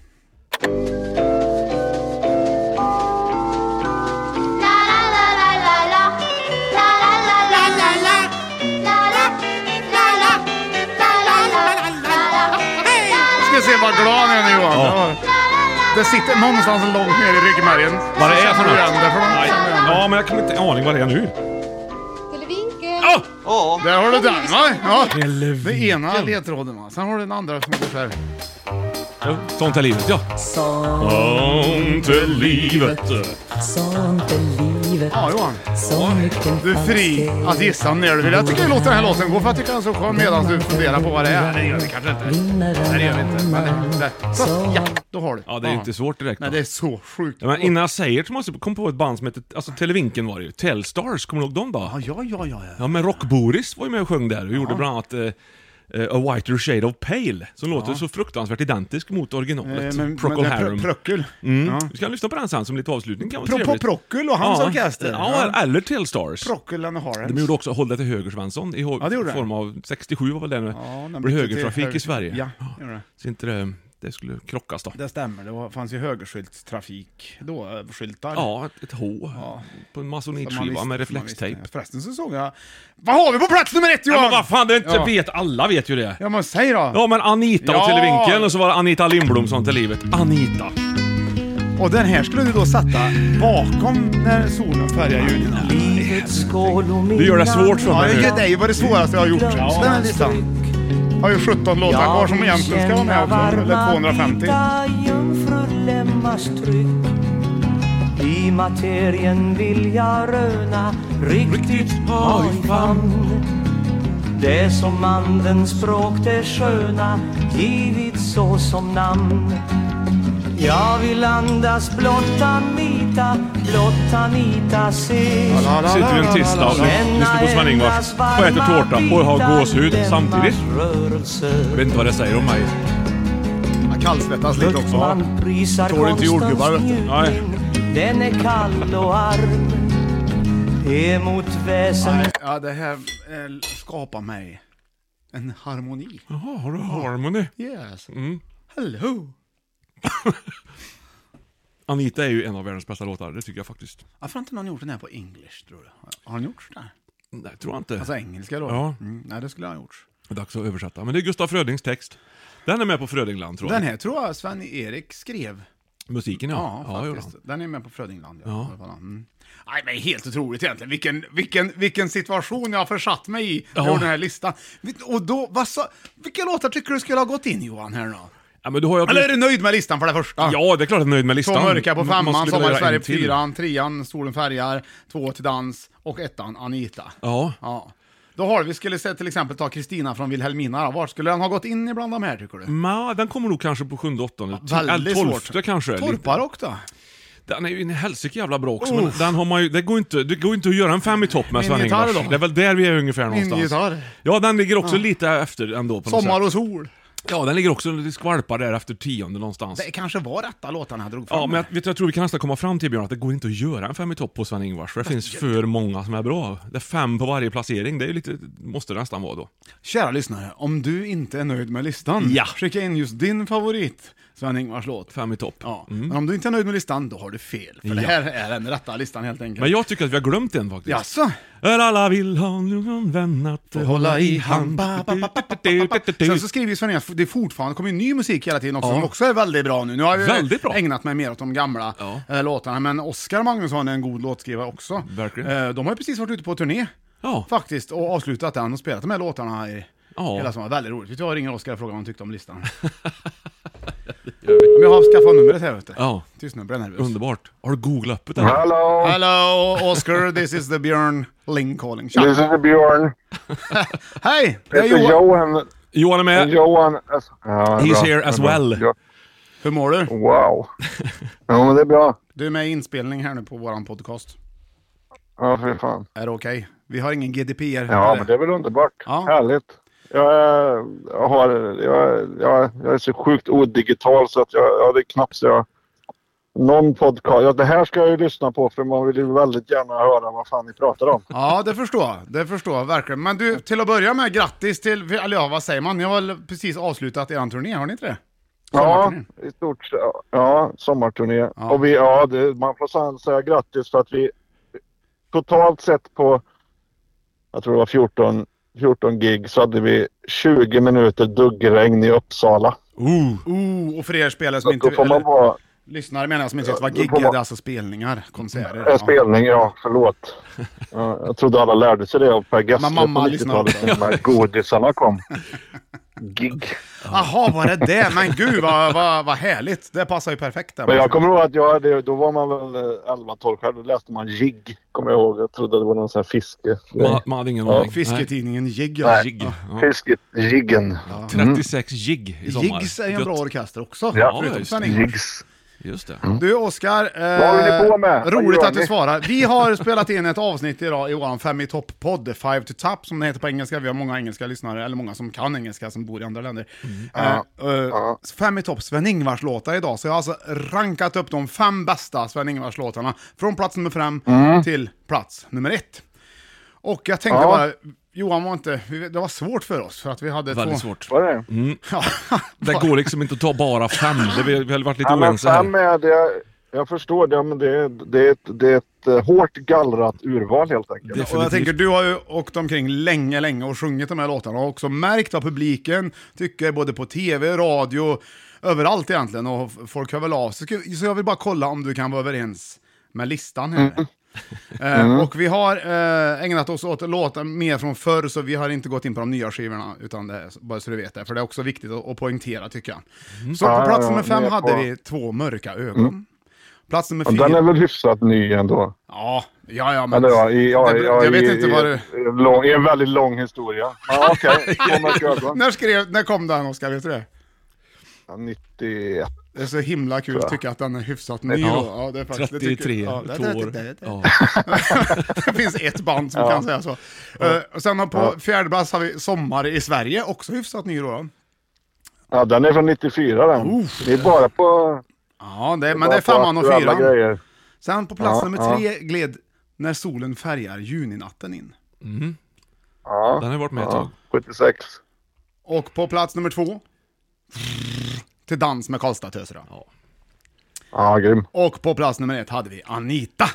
Speaker 1: Ska se vad glad han är nu Johan.
Speaker 2: Ja.
Speaker 1: Det sitter någonstans långt ner i ryggmärgen.
Speaker 2: Vad det är för något? Nej.
Speaker 1: något?
Speaker 2: Ja, men jag kommer inte aning vad det är nu.
Speaker 1: Där har du den va? Ja. Den ena ledtråden va. Sen har du den andra som går så här.
Speaker 2: Ja, Sånt är livet, ja. Sånt är livet.
Speaker 10: Sånt är livet,
Speaker 1: Ja Johan,
Speaker 10: så mycket
Speaker 1: du är fri att gissa när du vill. Jag tycker vi låter den här låten gå för jag tycker den är så skön medan du funderar på vad det är. Det gör vi kanske inte.
Speaker 10: vinner
Speaker 1: Nej det gör vi inte. Men det, det. Så, ja, då har du.
Speaker 2: Ja, det är inte svårt direkt.
Speaker 1: Nej
Speaker 2: va?
Speaker 1: det är så sjukt.
Speaker 2: Ja, men innan jag säger så måste jag komma på ett band som hette, alltså Televinken var det ju, Telstars, kommer du ihåg dem då?
Speaker 1: Ja, ja, ja, ja. ja.
Speaker 2: Ja men Rock-Boris var ju med och sjöng där och gjorde bland annat eh, eh, A Whiter Shade of Pale, som låter så fruktansvärt identisk mot originalet,
Speaker 1: Eh, Men, men,
Speaker 2: Procol
Speaker 1: men
Speaker 2: Harum.
Speaker 1: Pro- Procul.
Speaker 2: mm. Vi ska lyssna på den sen som lite avslutning, kan vara
Speaker 1: Pro-
Speaker 2: trevligt.
Speaker 1: Procul och hans
Speaker 2: Ja.
Speaker 1: orkester.
Speaker 2: Ja,
Speaker 1: Ja.
Speaker 2: eller Telstars.
Speaker 1: Procul and the Harem.
Speaker 2: De gjorde också Håll dig till höger Svensson, i
Speaker 1: Ja, det gjorde
Speaker 2: ho-
Speaker 1: den.
Speaker 2: form av 67 var väl det nu,
Speaker 1: Ja, den
Speaker 2: blev
Speaker 1: bytte
Speaker 2: högertrafik
Speaker 1: till höger-
Speaker 2: i Sverige.
Speaker 1: Ja, det gjorde det.
Speaker 2: Så inte det, det skulle krockas då.
Speaker 1: Det stämmer, det var- fanns ju högerskyltstrafik då, eh, skyltar.
Speaker 2: Ja, ett H på en
Speaker 1: Som man
Speaker 2: masonitskiva
Speaker 1: visste-
Speaker 2: med
Speaker 1: som man visste.
Speaker 2: reflextejp.
Speaker 1: Förresten så såg jag... Vad har vi på plats nummer ett
Speaker 2: Ja,
Speaker 1: Johan?
Speaker 2: men vad fan, det är inte
Speaker 1: ja.
Speaker 2: vet, alla vet ju det.
Speaker 1: Ja men säg då!
Speaker 2: Ja men Anita
Speaker 1: Ja.
Speaker 2: och Televinken och så var det Anita Lindblom som till livet. Anita.
Speaker 1: Och den här skulle du då sätta bakom när solen färgar juni.
Speaker 2: Du gör det svårt för
Speaker 1: Ja,
Speaker 2: mig
Speaker 1: det
Speaker 2: nu.
Speaker 1: är ju bara det svåraste jag har gjort. Ja, den här listan. Har ju 17 låtar kvar som egentligen ska vara med också, eller 250.
Speaker 5: jungfrulemmars tryck I materien vill jag röna riktigt oj famn Det som andens språk det sköna givit så som namn
Speaker 11: Jag vill andas blott Anita, blott Anita se.
Speaker 2: Sitter vi en tisdag och lyssnar på Sven-Ingvars och äter tårta och har gåshud samtidigt. Jag vet inte vad det säger om mig.
Speaker 1: Man kallsvettas lite också.
Speaker 11: Man prisar
Speaker 1: Tål inte jordgubbar vet du.
Speaker 2: Nej.
Speaker 11: Den är kall och arm emot väsen.
Speaker 1: Ja, det här eh, skapar mig en harmoni.
Speaker 2: Jaha, har du harmony?
Speaker 1: Yes.
Speaker 2: Mm.
Speaker 1: Hello!
Speaker 2: Anita är ju en av världens bästa låtar, det tycker jag faktiskt.
Speaker 1: Varför har inte någon gjort den här på english, tror du? Har han gjort det?
Speaker 2: Nej, tror jag inte.
Speaker 1: Alltså engelska då?
Speaker 2: Ja.
Speaker 1: Mm, nej, det skulle han ha gjort.
Speaker 2: Dags att översätta. Men det är Gustaf Frödings text. Den är med på Frödingland tror jag.
Speaker 1: Den här tror jag Sven-Erik skrev.
Speaker 2: Musiken ja.
Speaker 1: Ja,
Speaker 2: gjorde
Speaker 1: faktiskt.
Speaker 2: han.
Speaker 1: Den är med på Frödingland. Ja.
Speaker 2: Ja.
Speaker 1: I alla fall, Mm. Nej, men helt otroligt egentligen. Vilken, vilken, vilken situation jag har försatt mig i
Speaker 2: Ja.
Speaker 1: på den här listan. Vet- Och då, vad sa, vilka låtar tycker du skulle ha gått in Johan här då?
Speaker 2: Ja, men då har jag...
Speaker 1: Eller är du nöjd med listan för det första?
Speaker 2: Ja, det är klart jag är nöjd med listan.
Speaker 1: Två Ah. mörka på
Speaker 2: Man- man
Speaker 1: femman,
Speaker 2: skulle
Speaker 1: Sommar i
Speaker 2: vilja ha
Speaker 1: Sverige
Speaker 2: en
Speaker 1: på
Speaker 2: till.
Speaker 1: fyran, trean, Solen färgar, två till dans och ettan Anita.
Speaker 2: Ja.
Speaker 1: Ja. Då har vi, skulle se, till exempel ta Kristina från Vilhelmina. då. Vart skulle den ha gått in ibland de här tycker du?
Speaker 2: Ma, den kommer nog kanske på sjunde, åttonde, ti-
Speaker 1: Väldigt
Speaker 2: eller tolfte
Speaker 1: svårt.
Speaker 2: kanske.
Speaker 1: Torparrock då?
Speaker 2: Den är ju en helsike jävla bra också, men
Speaker 1: Uff.
Speaker 2: den har man ju, det, går inte, det går inte att göra en fem i topp med
Speaker 1: Min gitarr
Speaker 2: Sven-Ingvars.
Speaker 1: då?
Speaker 2: Det är väl där vi är ungefär
Speaker 1: Min
Speaker 2: någonstans.
Speaker 1: gitarr.
Speaker 2: Ja, den ligger också lite efter ändå på
Speaker 1: Sommar
Speaker 2: något
Speaker 1: och
Speaker 2: sätt.
Speaker 1: sol.
Speaker 2: Ja, den ligger också lite skvalpar där efter tionde någonstans.
Speaker 1: Det kanske var rätta låtarna jag drog fram.
Speaker 2: Ja, men jag, vet, du, jag tror vi kan nästan komma fram till Björn att det går inte att göra en fem i topp på Sven-Ingvars, för det finns för många som är bra. Det är fem på varje placering, det är ju lite, måste det nästan vara då.
Speaker 1: Kära lyssnare, om du inte är nöjd med listan,
Speaker 2: Ja.
Speaker 1: skicka in just din favorit Sven-Ingvars låt.
Speaker 2: Fem i topp.
Speaker 1: Ja. Men om du inte är nöjd med listan, då har du fel. För det
Speaker 2: Mm. Ja.
Speaker 1: här är den rätta listan helt enkelt.
Speaker 2: Men jag tycker att vi har glömt en faktiskt.
Speaker 1: Jaså?
Speaker 2: Är alla vill ha någon vän att hålla i hand.
Speaker 1: Sen så skriver ju Sven att det fortfarande kommer ju ny musik hela tiden också,
Speaker 2: Ja.
Speaker 1: som också är väldigt bra nu. Nu har jag ju
Speaker 2: Väldigt bra.
Speaker 1: ägnat mig mer åt de gamla
Speaker 2: Ja.
Speaker 1: eh, låtarna, men Oskar Magnusson är en god låtskrivare också.
Speaker 2: Verkligen.
Speaker 1: Eh, de har ju precis varit ute på turné,
Speaker 2: Ja,
Speaker 1: faktiskt, och avslutat den och spelat de här låtarna i hela
Speaker 2: ja.
Speaker 1: sommaren. Väldigt roligt. Vet du vad, jag ringer Oskar och frågar vad han tyckte om listan. Men jag har skaffat numret här ute.
Speaker 2: ja.
Speaker 1: Tyst nu, blir jag nervös.
Speaker 2: Underbart. Har du googlat upp det? Hallå.
Speaker 1: Hello Oscar, this is the Björn Ling calling. Tja.
Speaker 4: This is the Björn.
Speaker 1: Hej! Det är
Speaker 4: It's the
Speaker 1: Johan.
Speaker 4: Johan.
Speaker 2: Johan är med.
Speaker 4: Johan. as- Ja,
Speaker 2: He's
Speaker 4: bra.
Speaker 2: here as well.
Speaker 4: Ja,
Speaker 1: Hur mår du?
Speaker 4: Wow. Ja, men det är bra.
Speaker 1: Du är med i inspelning här nu på våran podcast.
Speaker 4: Ja, för fan.
Speaker 1: Är det okej? Vi har ingen GDPR.
Speaker 4: Ja, men det är väl underbart.
Speaker 1: Ja.
Speaker 4: Härligt. Jag, är- jag, har, jag, jag, jag är så sjukt odigital så att jag, jag det är knappt så jag... Någon podcast. Ja, det här ska jag ju lyssna på för man vill ju väldigt gärna höra vad fan ni pratar om.
Speaker 1: Ja, det förstår jag. Det förstår jag verkligen. Men du, till att börja med, grattis till, eller ja, vad säger man? Ni har väl precis avslutat er turné, har ni inte det?
Speaker 4: Ja,
Speaker 1: Sommarturnén.
Speaker 4: i stort sett. Ja, sommarturné. Och vi, ja, det, man får san- säga grattis för att vi totalt sett på, jag tror det var 14, 14 gig, så hade vi 20 minuter duggregn i Uppsala.
Speaker 2: Ooh.
Speaker 1: Oh, och för er spelare som
Speaker 4: Så
Speaker 1: inte...
Speaker 4: då får man
Speaker 1: Eller,
Speaker 4: vara,
Speaker 1: lyssnare menar jag som inte vet vad
Speaker 4: då får
Speaker 1: gig är, det
Speaker 4: man-
Speaker 1: är alltså spelningar, konserter.
Speaker 4: en spelning, ja, förlåt. Ja, jag trodde alla lärde sig det av Per Gessle
Speaker 1: Men mamma
Speaker 4: på
Speaker 1: lyssnar
Speaker 4: 90-talet
Speaker 1: också.
Speaker 4: när de här godisarna kom. Gig.
Speaker 1: Jaha, var det det? Men gud vad, vad, vad härligt. Det passar ju perfekt där.
Speaker 4: Men jag kommer ihåg att jag, hade- då var man väl eh, 11-12 själv, då läste man jigg. Kommer jag ihåg, jag trodde det var någon sån här fiske.
Speaker 2: Man, man hade ingen aning.
Speaker 1: Fisketidningen Jigg. ja.
Speaker 2: Nej. Jigg.
Speaker 1: Mm.
Speaker 2: Ja.
Speaker 4: Fisket, jiggen.
Speaker 2: 36 jigg i sommar.
Speaker 1: Jiggs är ju en
Speaker 2: Gött.
Speaker 1: bra orkester också.
Speaker 4: Ja,
Speaker 1: förutom
Speaker 2: just
Speaker 1: Sven-Ingvars.
Speaker 4: Jigs.
Speaker 2: Just det.
Speaker 1: Du Oskar, eh,
Speaker 4: Vad håller ni på med? Vad
Speaker 1: roligt
Speaker 4: gör
Speaker 1: att du
Speaker 4: ni?
Speaker 1: svarar. Vi har spelat in ett avsnitt idag i våran Fem i topp-podd, Five to Top som det heter på engelska. Vi har många engelska lyssnare, eller många som kan engelska, som bor i andra länder.
Speaker 4: Mm.
Speaker 1: Eh, eh, Fem i topp Sven-Ingvars låtar idag, så jag har alltså rankat upp de fem bästa Sven-Ingvars låtarna från plats nummer fem till plats nummer ett. Och jag tänkte
Speaker 4: Mm. Ja.
Speaker 1: bara, Johan var inte, vi- det var svårt för oss för att vi hade
Speaker 2: Väldigt
Speaker 1: två...
Speaker 2: svårt.
Speaker 4: Var det?
Speaker 2: Det går liksom inte att ta bara fem. Det, vi, vi har varit lite
Speaker 4: Ja, men
Speaker 2: oense här.
Speaker 4: fem är det. Jag förstår det, men det, är- det, är ett, det är ett eh, hårt gallrat urval helt enkelt.
Speaker 2: Definitivt.
Speaker 1: Och jag tänker, du har ju åkt omkring länge, länge och sjungit de här låtarna och också märkt vad publiken tycker både på tv, radio, överallt egentligen och f- folk hör väl av sig. Ska- Så jag vill bara kolla om du kan vara överens med listan här.
Speaker 4: Mm.
Speaker 1: Eh, Och vi har eh, ägnat oss åt låtar mer från förr, så vi har inte gått in på de nya skivorna, utan det, är- bara så du vet det, för det är också viktigt att, att poängtera tycker jag. Så
Speaker 4: Mm. Ja,
Speaker 1: på plats
Speaker 4: ja,
Speaker 1: nummer fem
Speaker 4: ni är
Speaker 1: hade
Speaker 4: på.
Speaker 1: vi Två mörka ögon. Plats nummer
Speaker 4: Och Den
Speaker 1: fyra...
Speaker 4: är väl hyfsat ny ändå?
Speaker 1: Ja, ja, ja, men...
Speaker 4: Eller ja, i, ja,
Speaker 1: det-
Speaker 4: ja,
Speaker 1: jag vet
Speaker 4: i,
Speaker 1: inte
Speaker 4: i,
Speaker 1: vad du...
Speaker 4: i en lång, I en väldigt lång historia. Ja, okej. Två mörka ögon.
Speaker 1: När, skrev, när kom den Oskar, vet du det?
Speaker 4: Ja, 91.
Speaker 1: Det är så himla kul
Speaker 4: Så.
Speaker 1: att tycka att den är hyfsat ny
Speaker 4: Ja.
Speaker 1: då. Ja, det är faktiskt, det tycker-
Speaker 2: 33,
Speaker 1: ja, det-
Speaker 2: två år.
Speaker 1: det- det- det-
Speaker 2: Ja.
Speaker 1: Det finns ett band som
Speaker 2: Ja.
Speaker 1: kan säga så.
Speaker 4: Ja.
Speaker 1: Eh, och sen har på
Speaker 4: Ja.
Speaker 1: fjärde plats har vi Sommar i Sverige, också hyfsat ny då.
Speaker 4: Ja, den är från 94 den. Det är bara på...
Speaker 1: Ja, det,
Speaker 4: är
Speaker 1: men
Speaker 4: bara
Speaker 1: det är
Speaker 4: på
Speaker 1: femman och
Speaker 4: aktuella
Speaker 1: fyran.
Speaker 4: grejer.
Speaker 1: Sen på plats
Speaker 4: Ja,
Speaker 1: nummer
Speaker 4: ja.
Speaker 1: tre gled När solen färgar juninatten in.
Speaker 4: Ja,
Speaker 2: Den har varit med ett
Speaker 4: ja,
Speaker 2: tag.
Speaker 4: 76.
Speaker 1: Och på plats nummer två, Till dans med Karlstad-töserna.
Speaker 4: Ja, grym.
Speaker 1: Och på plats nummer ett hade vi Anita.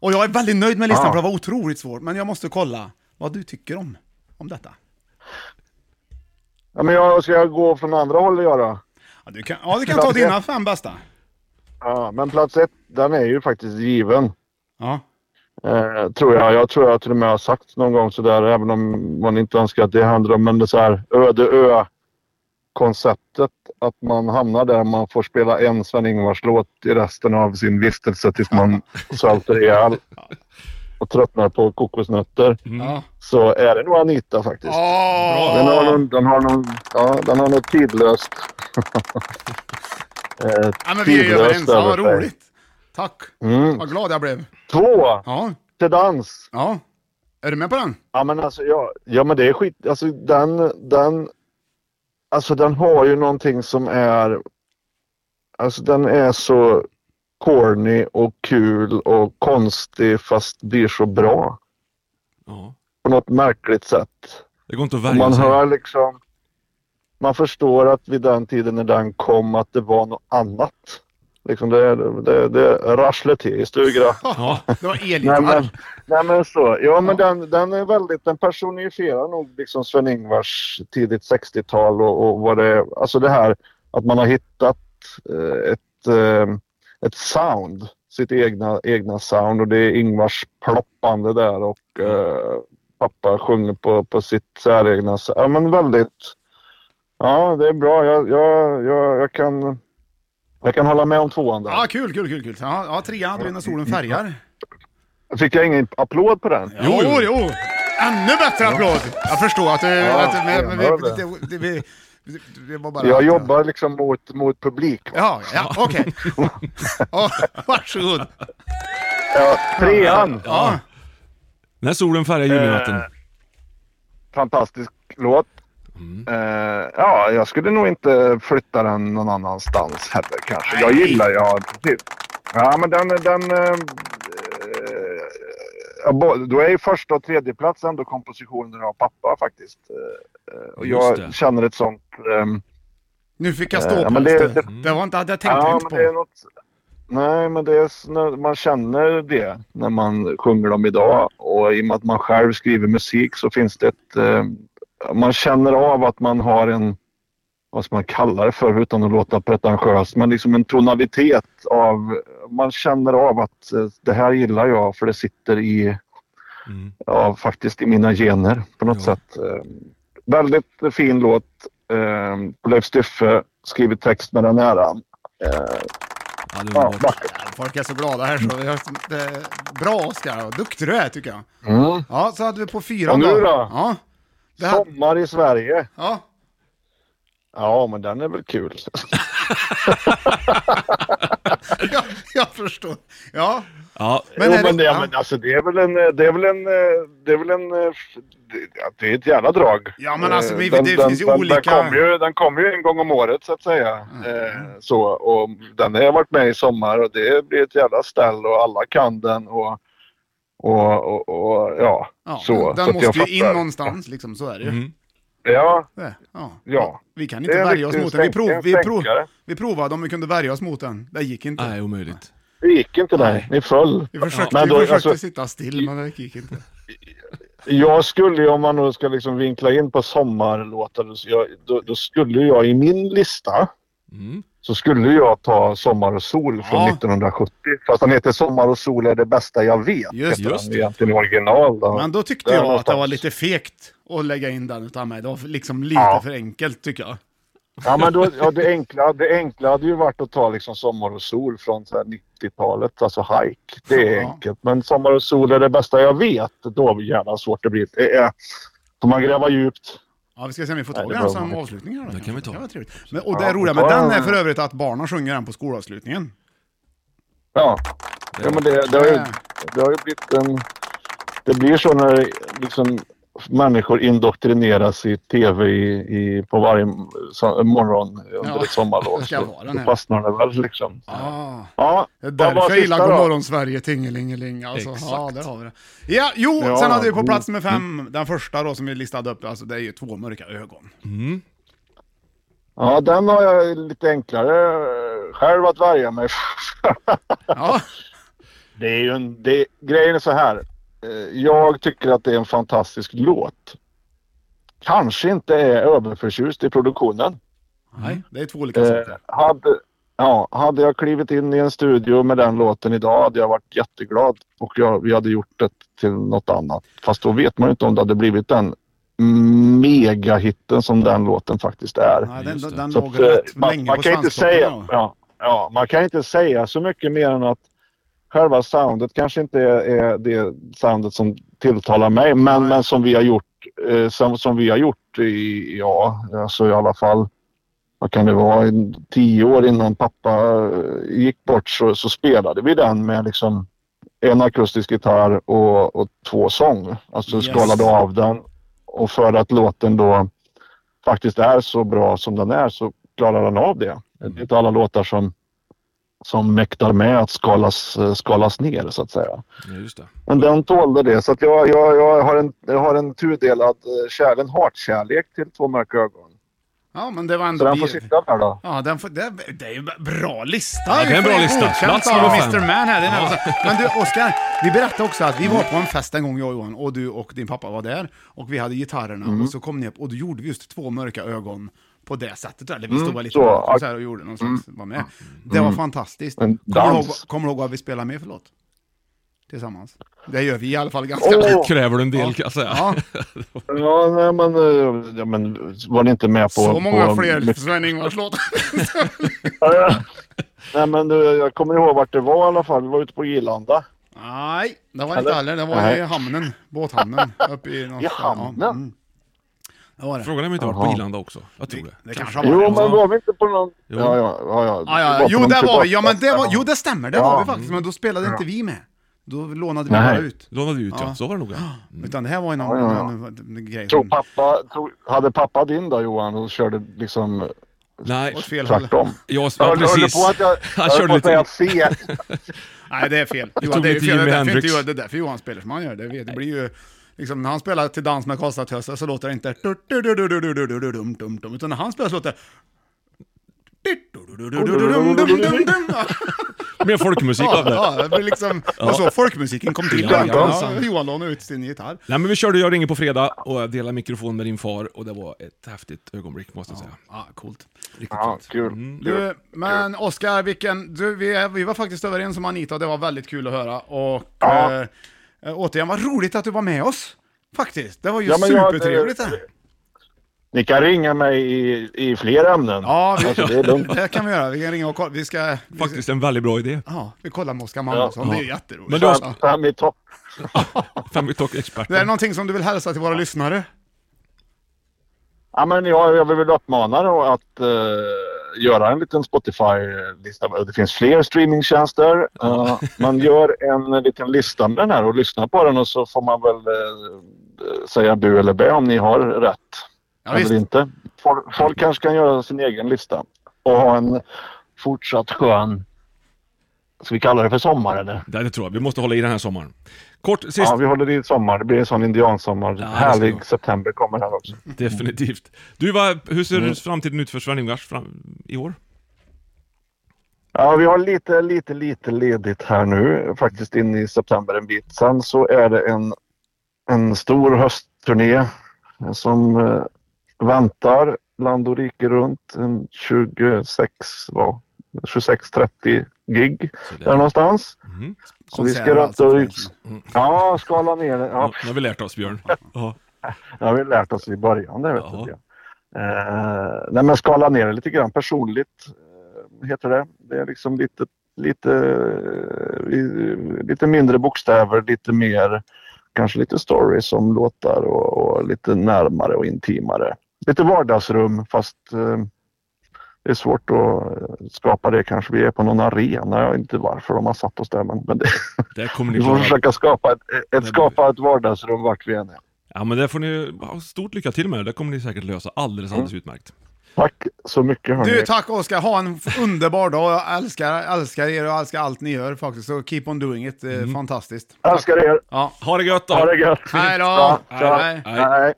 Speaker 1: Och jag är väldigt nöjd med listan
Speaker 4: Ja.
Speaker 1: för det var otroligt svårt, men jag måste kolla vad du tycker om, om detta.
Speaker 4: Ja, men jag, ska jag gå från andra hållet jag då?
Speaker 1: Ja, du kan, ja, du kan ta dina fem bästa.
Speaker 4: Ja, men plats ett, den är ju faktiskt given.
Speaker 1: Ja.
Speaker 4: Eh, tror jag. Jag tror jag till och med har sagt någon gång sådär, även om man inte önskar att det händer, men det är så här öde ö konceptet att man hamnar där man får spela en Sven-Ingvars låt i resten av sin vistelse tills man svälter ihjäl och tröttnar på kokosnötter.
Speaker 1: Ja.
Speaker 4: Så är det nog Anita faktiskt. Den har någon, den har någon, ja, den har något tidlöst. eh,
Speaker 1: Ja, men vi är ju
Speaker 4: tidlöst
Speaker 1: överens, ja,
Speaker 4: över
Speaker 1: vad
Speaker 4: sig.
Speaker 1: roligt. Tack,
Speaker 4: Mm.
Speaker 1: vad glad jag blev.
Speaker 4: Två!
Speaker 1: Ja.
Speaker 4: Till dans.
Speaker 1: Ja. Är du med på den?
Speaker 4: Ja men alltså ja, ja men det är skit, alltså den, den, alltså den har ju någonting som är, alltså den är så corny och kul och konstig fast blir så bra.
Speaker 2: Ja.
Speaker 4: På något märkligt sätt.
Speaker 2: Det går inte att
Speaker 4: Och
Speaker 2: värja
Speaker 4: man
Speaker 2: sig.
Speaker 4: hör liksom, man förstår att vid den tiden när den kom att det var något annat. Liksom det, det, det rasslar till i stugan.
Speaker 2: Ja.
Speaker 1: Det var
Speaker 4: Nej
Speaker 1: elgitarr.
Speaker 4: men, nej men så. Ja men den, den är väldigt, den personifierar nog liksom Sven-Ingvars tidigt 60-tal och, och vad det är. Alltså det här att man har hittat eh, ett, eh, ett sound. Sitt egna, egna sound och det är Ingvars ploppande där och eh, pappa sjunger på, på sitt säregna sä- Ja men väldigt. Ja det är bra. Jag, jag, jag, jag kan jag kan hålla med om tvåan där.
Speaker 1: Ja, kul, kul, kul, kul. Ja, ja trean hade vi När solen färgar.
Speaker 4: Fick jag ingen applåd på den?
Speaker 1: Jo, jo, jo. Ännu bättre applåd! Jag förstår att du...
Speaker 4: Ja,
Speaker 1: att, men, men, vi,
Speaker 4: jag
Speaker 1: det,
Speaker 4: hör
Speaker 1: det, vi, det- det var bara...
Speaker 4: Jag jobbar liksom mot, mot publik.
Speaker 1: Ja, ja okej. Ja, varsågod.
Speaker 4: Ja, trean.
Speaker 1: Ja.
Speaker 2: När solen färgar julnatten.
Speaker 4: Fantastisk låt. Eh, ja, jag skulle nog inte flytta den någon annanstans heller kanske. Jag gillar jag. Ja, men den... den eh, eh, ja, bo- då är ju första och tredje plats ändå kompositioner av pappa faktiskt. Eh, eh, och
Speaker 1: Just
Speaker 4: jag
Speaker 1: det.
Speaker 4: känner ett sånt... ehm,
Speaker 1: Nu fick jag
Speaker 4: Eh,
Speaker 1: stå
Speaker 4: ja,
Speaker 1: på
Speaker 4: men det-
Speaker 1: det, det,
Speaker 4: det-
Speaker 1: var inte, det tänkte
Speaker 4: Ja,
Speaker 1: jag inte
Speaker 4: men
Speaker 1: på.
Speaker 4: det är något- Nej, men det är, s- när man känner det när man sjunger dem idag. Och i och med att man själv skriver musik så finns det ett... Eh, man känner av att man har en... Vad ska man kalla det för utan att låta pretentiöst? Men liksom en tonalitet av... Man känner av att eh, det här gillar jag för det sitter i...
Speaker 1: Mm.
Speaker 4: Ja, faktiskt i mina gener på något sätt. Eh, väldigt fin låt. Eh, Leif Styffe skrivit text med den äran. Eh, ja, vackert.
Speaker 1: Folk är så glada här så. Jag, det, bra Oskar, vad duktig du är tycker jag.
Speaker 4: Mm.
Speaker 1: Ja, så hade vi på
Speaker 4: Och
Speaker 1: fyran
Speaker 4: nu
Speaker 1: då.
Speaker 4: då?
Speaker 1: Ja. Det här-
Speaker 4: Sommar i Sverige.
Speaker 1: Ja.
Speaker 4: Ja, men den är väl kul.
Speaker 1: ja, jag förstår. Ja,
Speaker 2: Ja.
Speaker 4: Men,
Speaker 1: Men
Speaker 4: jo,
Speaker 1: är det-
Speaker 4: men, det,
Speaker 1: ja.
Speaker 4: men alltså, det är väl en... eh, Det är väl en... eh, Det är väl en... eh, Det, ja, det är ett jävla drag.
Speaker 1: Ja, men alltså,
Speaker 4: Eh,
Speaker 1: vi-
Speaker 4: den,
Speaker 1: det
Speaker 4: den,
Speaker 1: finns ju
Speaker 4: den,
Speaker 1: olika- Mm.
Speaker 4: Den kommer ju, den kommer ju en gång om året så att säga. Eh, så, och den har jag varit med i sommar och det blir ett jävla ställ och alla kan den och... Och, och, och ja,
Speaker 1: ja.
Speaker 4: så.
Speaker 1: den
Speaker 4: så att jag
Speaker 1: måste ju in
Speaker 4: fattar.
Speaker 1: någonstans liksom, så är det ju.
Speaker 4: Ja,
Speaker 1: Det, ja.
Speaker 4: ja.
Speaker 1: Vi kan
Speaker 4: Det är
Speaker 1: inte
Speaker 4: en
Speaker 1: värja oss
Speaker 4: riktig
Speaker 1: mot den. Vi,
Speaker 4: stänk-
Speaker 1: prov,
Speaker 4: en
Speaker 1: vi, prov,
Speaker 4: stänkare.
Speaker 1: vi provade om vi kunde värja oss mot den. Det gick inte.
Speaker 2: Nej, omöjligt.
Speaker 4: Det gick inte nej. Ni föll.
Speaker 1: Vi försökte,
Speaker 4: Men då,
Speaker 1: vi försökte
Speaker 4: alltså,
Speaker 1: sitta still, men det gick inte.
Speaker 4: Jag skulle ju, om man nu ska liksom vinkla in på sommarlåtar, så jag, då, då skulle jag i min lista så skulle jag ta Sommar och sol från
Speaker 1: Mm. Ja.
Speaker 4: 1970. Fast den heter Sommar och sol är det bästa jag vet.
Speaker 1: Just-
Speaker 4: heter
Speaker 1: just
Speaker 4: den
Speaker 1: det.
Speaker 4: egentligen i original. Då.
Speaker 1: Men då tyckte
Speaker 4: Där
Speaker 1: jag att det
Speaker 4: någonstans.
Speaker 1: var lite fegt att lägga in den utan mig. Det var liksom lite
Speaker 4: Ja.
Speaker 1: för enkelt tycker jag.
Speaker 4: Ja, men då, ja, det, enkla, det enkla hade ju varit att ta liksom Sommar och sol från så här 90-talet, alltså hike. Det är
Speaker 1: Ja.
Speaker 4: enkelt. Men Sommar Äh, och sol är det bästa jag vet. Då är det jävla svårt det blir. Det är, får man gräva djupt.
Speaker 1: Ja, vi ska se om vi får
Speaker 4: Nej,
Speaker 1: tag i
Speaker 4: det
Speaker 1: den
Speaker 4: var
Speaker 1: som
Speaker 4: roligt.
Speaker 1: avslutning. här då,
Speaker 2: Det kan vi ta.
Speaker 1: Det var trevligt. Men, och det
Speaker 4: Ja,
Speaker 1: roliga med
Speaker 4: ja,
Speaker 1: den är
Speaker 4: ja.
Speaker 1: för övrigt att barnen sjunger den på skolavslutningen.
Speaker 4: Ja, ja men det, det, har ju,
Speaker 1: Ja.
Speaker 4: det har ju blivit en... Det blir så när liksom människor indoktrineras i tv i, i, på varje so- morgon under
Speaker 1: Ja,
Speaker 4: ett sommarlov.
Speaker 1: det ska
Speaker 4: Så,
Speaker 1: vara den
Speaker 4: då
Speaker 1: här.
Speaker 4: fastnar det väl liksom.
Speaker 1: Ah.
Speaker 4: Ja,
Speaker 1: Det är
Speaker 4: vad var
Speaker 1: därför jag
Speaker 4: sista
Speaker 1: gillar
Speaker 4: då?
Speaker 1: Godmorgon Sverige tingelingeling. Alltså, ja,
Speaker 4: Exakt.
Speaker 1: där har vi det. Ja, jo,
Speaker 4: Ja,
Speaker 1: sen hade vi på
Speaker 4: mm.
Speaker 1: plats med fem, den första då som vi listade upp, alltså det är ju två mörka ögon.
Speaker 4: Ja, den har jag lite enklare eh, själv att värja mig
Speaker 1: ja.
Speaker 4: Det är ju en... Det, grejen är så här. Eh, Jag tycker att det är en fantastisk låt. Kanske inte är överförtjust i produktionen.
Speaker 1: Nej, det är två olika
Speaker 4: Eh,
Speaker 1: saker.
Speaker 4: hade, ja, hade jag klivit in i en studio med den låten idag hade jag varit jätteglad och jag, vi hade gjort det till något annat. Fast då vet man ju inte om det hade blivit den megahitten som den låten faktiskt är.
Speaker 1: Nej, den, den, den
Speaker 4: Så
Speaker 1: låg
Speaker 4: att, eh,
Speaker 1: rätt
Speaker 4: man,
Speaker 1: länge
Speaker 4: man
Speaker 1: på
Speaker 4: kan inte
Speaker 1: svanstoppen
Speaker 4: säga,
Speaker 1: då.
Speaker 4: ja, ja, Man kan inte säga så mycket mer än att själva soundet kanske inte är, är det soundet som tilltalar mig men, men som vi har gjort eh, som, som vi har gjort i, ja, alltså i alla fall vad kan det vara, en- tio år innan pappa eh, gick bort så, så spelade vi den med liksom en akustisk gitarr och, och två sång. Alltså
Speaker 12: Yes.
Speaker 4: skalade av den och för att låten då faktiskt är så bra som den är så klarar den av det. Det är inte alla låtar som, som mäktar med att skalas, eh, skalas ner så att säga.
Speaker 2: Ja, just det.
Speaker 4: Men den tålde det. Så att jag, jag, jag, har en, jag har en tudelad eh, kärlek, en hatkärlek till Två mörka ögon.
Speaker 1: Ja, men det var
Speaker 4: Så
Speaker 1: ändå...
Speaker 4: den får sitta där då.
Speaker 1: Ja, den får, det, det är ju en bra lista!
Speaker 4: Ja, det är en bra lista.
Speaker 1: Godkänt
Speaker 4: Plats
Speaker 1: av
Speaker 4: nummer fem.
Speaker 1: Mr. Man här. Det är
Speaker 4: Ja.
Speaker 1: nära så- Men du, Oskar, vi berättade också att vi var på en fest en gång, jag och Johan, och du och din pappa var där, och vi hade gitarrerna,
Speaker 4: Mm.
Speaker 1: och så kom ni upp, och då gjorde vi just två mörka ögon på det sättet, eller vi stod
Speaker 4: Mm,
Speaker 1: bara lite
Speaker 4: så.
Speaker 1: så, så här och gjorde någon slags, var med. Det var
Speaker 4: Mm.
Speaker 1: fantastiskt.
Speaker 4: En
Speaker 1: Kommer du, ihåg,
Speaker 4: dans.
Speaker 1: kommer du ihåg vad vi spelade med för låt? Tillsammans. Det gör vi i alla fall ganska
Speaker 4: Åh!
Speaker 1: mycket.
Speaker 2: Kräver du en del alltså,
Speaker 1: Ja.
Speaker 2: kan jag säga.
Speaker 1: Ja.
Speaker 4: Ja, nej, men, eh, ja, men var ni inte med på...
Speaker 1: Så många
Speaker 4: på,
Speaker 1: fler Sven-Ingvars låtar.
Speaker 4: Nej, men eh, jag kommer ihåg vart det var i alla fall. Vi var ute på Irlanda.
Speaker 1: Nej, det var
Speaker 4: Eller?
Speaker 1: inte heller. Det var i
Speaker 4: Nej.
Speaker 1: hamnen. Båthamnen. Uppe i någon
Speaker 4: I
Speaker 1: stad, ja.
Speaker 4: hamnen?
Speaker 1: Mm. Det var det.
Speaker 2: Frågan är om vi inte varit på Irland också. Jag tror det.
Speaker 1: Det kanske
Speaker 4: Jo,
Speaker 1: var
Speaker 4: men
Speaker 1: det.
Speaker 4: var vi inte på någon...
Speaker 2: Jo.
Speaker 4: Ja, ja, ja. ja.
Speaker 1: Ja, ja, ja.
Speaker 4: Vi på
Speaker 1: Jo,
Speaker 4: någon
Speaker 1: där var vi.
Speaker 4: privat-
Speaker 1: Ja, men det var, jo, det stämmer. Det var
Speaker 4: Ja.
Speaker 1: vi faktiskt. Men då spelade inte vi med. Då lånade vi
Speaker 4: Nej.
Speaker 1: bara ut.
Speaker 2: Lånade ut
Speaker 1: Ja.
Speaker 2: ja, så var det nog. ja.
Speaker 1: Utan det här var ju någon,
Speaker 4: Ja, ja, ja.
Speaker 1: någon, någon grej
Speaker 4: Tror
Speaker 1: som...
Speaker 4: pappa, tror, hade pappa din då Johan och körde liksom
Speaker 2: Nej.
Speaker 1: Åt fel håll.
Speaker 4: tvärtom?
Speaker 2: Ja,
Speaker 4: Jag
Speaker 2: ja
Speaker 4: höll- höll
Speaker 2: precis.
Speaker 4: på att jag-
Speaker 2: Han
Speaker 4: jag höll
Speaker 2: körde
Speaker 4: på att
Speaker 2: lite...
Speaker 4: säga fel.
Speaker 1: Nej, det är fel.
Speaker 2: Jag
Speaker 1: Johan,
Speaker 2: tog
Speaker 1: det, är
Speaker 2: lite
Speaker 1: fel. Det, är därför
Speaker 2: Jimi
Speaker 1: inte,
Speaker 2: Hendrix.
Speaker 1: Johan- det är därför Johan spelar som han gör. Det, det blir ju... Liksom, när han spelar till dans med Karlstadtöser så låter det inte... Utan när han spelar så låter det...
Speaker 2: Mer folkmusik
Speaker 1: Ja,
Speaker 2: av det.
Speaker 1: ja, det blir liksom... Det var så folkmusiken kom till.
Speaker 2: Ja, ja,
Speaker 1: Ja,
Speaker 2: ja.
Speaker 1: Johan lånade ut sin gitarr.
Speaker 2: Nej men vi körde Jag ringer på fredag och jag delade mikrofon med din far och det var ett häftigt ögonblick måste jag säga.
Speaker 1: Ja, coolt. Mm.
Speaker 2: Riktigt
Speaker 4: Ja,
Speaker 2: fint.
Speaker 4: kul.
Speaker 1: Du, men Oskar, vilken... Du, vi, vi var faktiskt överens om Anita och det var väldigt kul att höra. Och
Speaker 4: Ja.
Speaker 1: eh, eh, återigen, vad roligt att du var med oss. Faktiskt. Det var ju
Speaker 4: Ja, men jag-
Speaker 1: supertrevligt det här.
Speaker 4: Ni kan ringa mig i, i fler ämnen.
Speaker 1: Ja, vi,
Speaker 4: Alltså, det är lugnt.
Speaker 1: det kan vi göra. Vi kan ringa och kolla. Vi ska... Vi,
Speaker 2: Faktiskt en väldigt bra idé.
Speaker 1: ja, vi kollar med Oskar Magnusson.
Speaker 2: Ja.
Speaker 1: Det är ju jätteroligt.
Speaker 2: Men du har-
Speaker 1: Ja.
Speaker 4: Fem i topp.
Speaker 2: Family
Speaker 1: Det är
Speaker 2: Talk-experten.
Speaker 1: någonting som du vill hälsa till våra lyssnare?
Speaker 4: Ja, men jag, jag vill uppmana då att eh, göra en liten Spotify-lista. Det finns fler streamingtjänster. Eh, man gör en liten lista med den här och lyssnar på den och så får man väl eh, säga bu eller bä om ni har rätt.
Speaker 1: Ja,
Speaker 4: eller
Speaker 1: visst.
Speaker 4: inte. Folk, folk kanske kan göra sin egen lista och ha en fortsatt skön... Ska vi kalla det för sommar eller?
Speaker 2: Nej, det tror jag. Vi måste hålla i den här sommaren. Kort, sist.
Speaker 4: Ja, vi håller i sommar. Det blir en sån indiansommar.
Speaker 2: det ska
Speaker 4: Härlig
Speaker 2: vara.
Speaker 4: september kommer här också.
Speaker 2: Definitivt. Du, vad, hur ser framtiden ut för Sven-Ingvars fram, i år?
Speaker 4: Ja, vi har lite, lite, lite ledigt här nu, faktiskt in i september en bit. Sen så är det en, en stor höstturné som eh, väntar land och rike runt. En 26, vad? 26-30 gig där någonstans.
Speaker 2: Mhm.
Speaker 4: Så vi ska
Speaker 1: Konserter
Speaker 4: rätta
Speaker 1: alltså,
Speaker 4: ut. Ja, skala ner det.
Speaker 2: Ja,
Speaker 4: Ja,
Speaker 2: nu har vi lärt oss, Björn. Ja.
Speaker 4: det har vi lärt oss i början där, vet du. det. Eh, nej, men skala ner det lite grann personligt, eh, heter det. Det är liksom lite, lite, eh, i- lite mindre bokstäver, lite mer, kanske lite stories som låtar och, och lite närmare och intimare. lite vardagsrum fast eh, det är svårt att eh, skapa det kanske. Vi är på någon arena. Jag vet inte varför de har satt oss där men, men det,
Speaker 2: Det kommer ni
Speaker 4: vi får
Speaker 2: klara.
Speaker 4: försöka skapa ett, ett, skapa ett vardagsrum vart vi än är.
Speaker 2: Ja men det får ni ha stort lycka till med. Det kommer ni säkert lösa alldeles, alldeles
Speaker 4: Mm.
Speaker 2: utmärkt.
Speaker 4: Tack så mycket hörni.
Speaker 1: Du, tack Oskar. Ha en f- underbar dag. Jag älskar, älskar er och älskar allt ni gör faktiskt. Så keep on doing it. Eh,
Speaker 2: Mm.
Speaker 1: Fantastiskt.
Speaker 4: Älskar er.
Speaker 1: Ja.
Speaker 2: Ha det gött då!
Speaker 4: Ha det gött.
Speaker 1: Hej då!
Speaker 4: Ja, tja. Hej.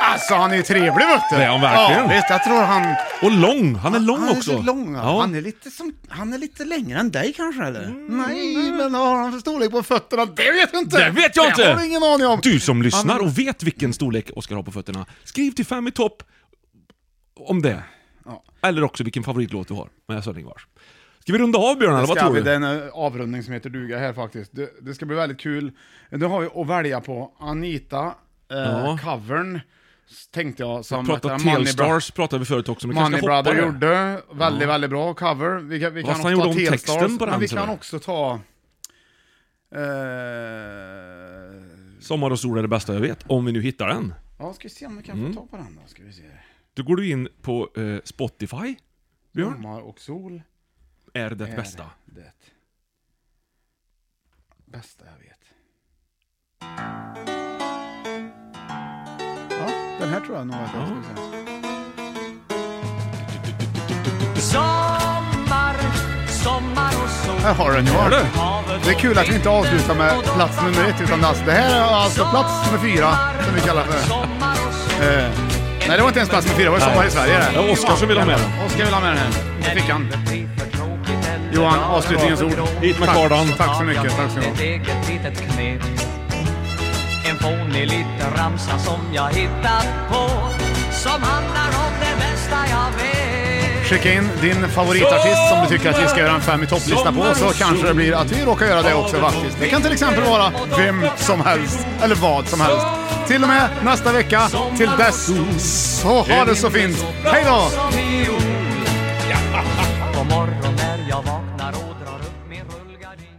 Speaker 1: Alltså han är ju trevlig vet du.
Speaker 2: Det är han verkligen.
Speaker 1: Ja, visst, jag tror han...
Speaker 2: Och lång! Han är lång
Speaker 1: han är
Speaker 2: också!
Speaker 1: så lång. han.
Speaker 2: Ja. Mm.
Speaker 1: Han, är lite som, han är lite längre än dig kanske eller? Nej, men vad har han för storlek på fötterna? Det vet jag inte!
Speaker 2: Det vet jag inte!
Speaker 1: Det har vi ingen aning om.
Speaker 2: Du som lyssnar
Speaker 1: Han-
Speaker 2: och vet vilken storlek Oskar har på fötterna, skriv till Fem i topp om det.
Speaker 1: Ja.
Speaker 2: Eller också vilken favoritlåt du har med Sven Ingvars. Ska vi runda av Björn eller
Speaker 1: Det
Speaker 2: vad
Speaker 1: ska
Speaker 2: tror
Speaker 1: vi,
Speaker 2: du?
Speaker 1: det är en eh, avrundning som heter duga här faktiskt. Det, det ska bli väldigt kul. Nu har vi att välja på Anita, eh,
Speaker 2: Ja.
Speaker 1: covern, s- tänkte jag, som
Speaker 2: Prata
Speaker 1: heter Money Bro-
Speaker 2: Telstars pratade vi förut också, men vi kanske
Speaker 1: Money
Speaker 2: ska hoppa
Speaker 1: Brother
Speaker 2: det.
Speaker 1: gjorde. Väldigt,
Speaker 2: Ja.
Speaker 1: väldigt bra cover. Vi kan, vi kan
Speaker 2: Fast
Speaker 1: också
Speaker 2: han gjorde
Speaker 1: ta
Speaker 2: om
Speaker 1: Telstars,
Speaker 2: texten på den,
Speaker 1: men vi
Speaker 2: så
Speaker 1: kan
Speaker 2: där.
Speaker 1: också ta... Eh,
Speaker 2: Sommar och sol är det bästa jag vet, om vi nu hittar den.
Speaker 1: ja, ska vi se om vi kan
Speaker 2: Mm.
Speaker 1: få ta på den då. Ska vi se.
Speaker 2: Då går du in på eh, Spotify, Björn.
Speaker 1: Sommar och sol
Speaker 2: Är det
Speaker 1: är
Speaker 2: bästa?
Speaker 1: det bästa jag vet. Ja, den här tror jag nog att jag skulle säga.
Speaker 5: Sommar, sommar och sol.
Speaker 1: Här har den ju.
Speaker 5: Hör du?
Speaker 1: Det är kul att vi inte avslutar med plats nummer ett, utan alltså, det här är alltså plats nummer fyra, som vi kallar för. Eh, nej, det var inte ens plats nummer fyra, det var ju Sommar i Sverige det.
Speaker 2: Det var Oskar som ville ha med den.
Speaker 1: Oskar vill ha med den här. Det fick han. Johan, avslutningens ord.
Speaker 2: Hit med
Speaker 1: Tack.
Speaker 2: kardan.
Speaker 1: Tack så mycket, tack så
Speaker 5: Ett
Speaker 1: mycket.
Speaker 5: eget litet knep. En fånig liten ramsa som jag hittat på. Som handlar om det bästa jag vet.
Speaker 1: Skicka in din favoritartist som du tycker att vi ska göra en fem i topplista på, så kanske det blir att vi råkar göra det också faktiskt. Det kan till exempel vara vem som helst, eller vad som helst. Till och med nästa vecka. Till dess, så ha det så fint. Hej då!
Speaker 5: Som fiol. På morgon när jag vaknar och drar upp min rullgardin.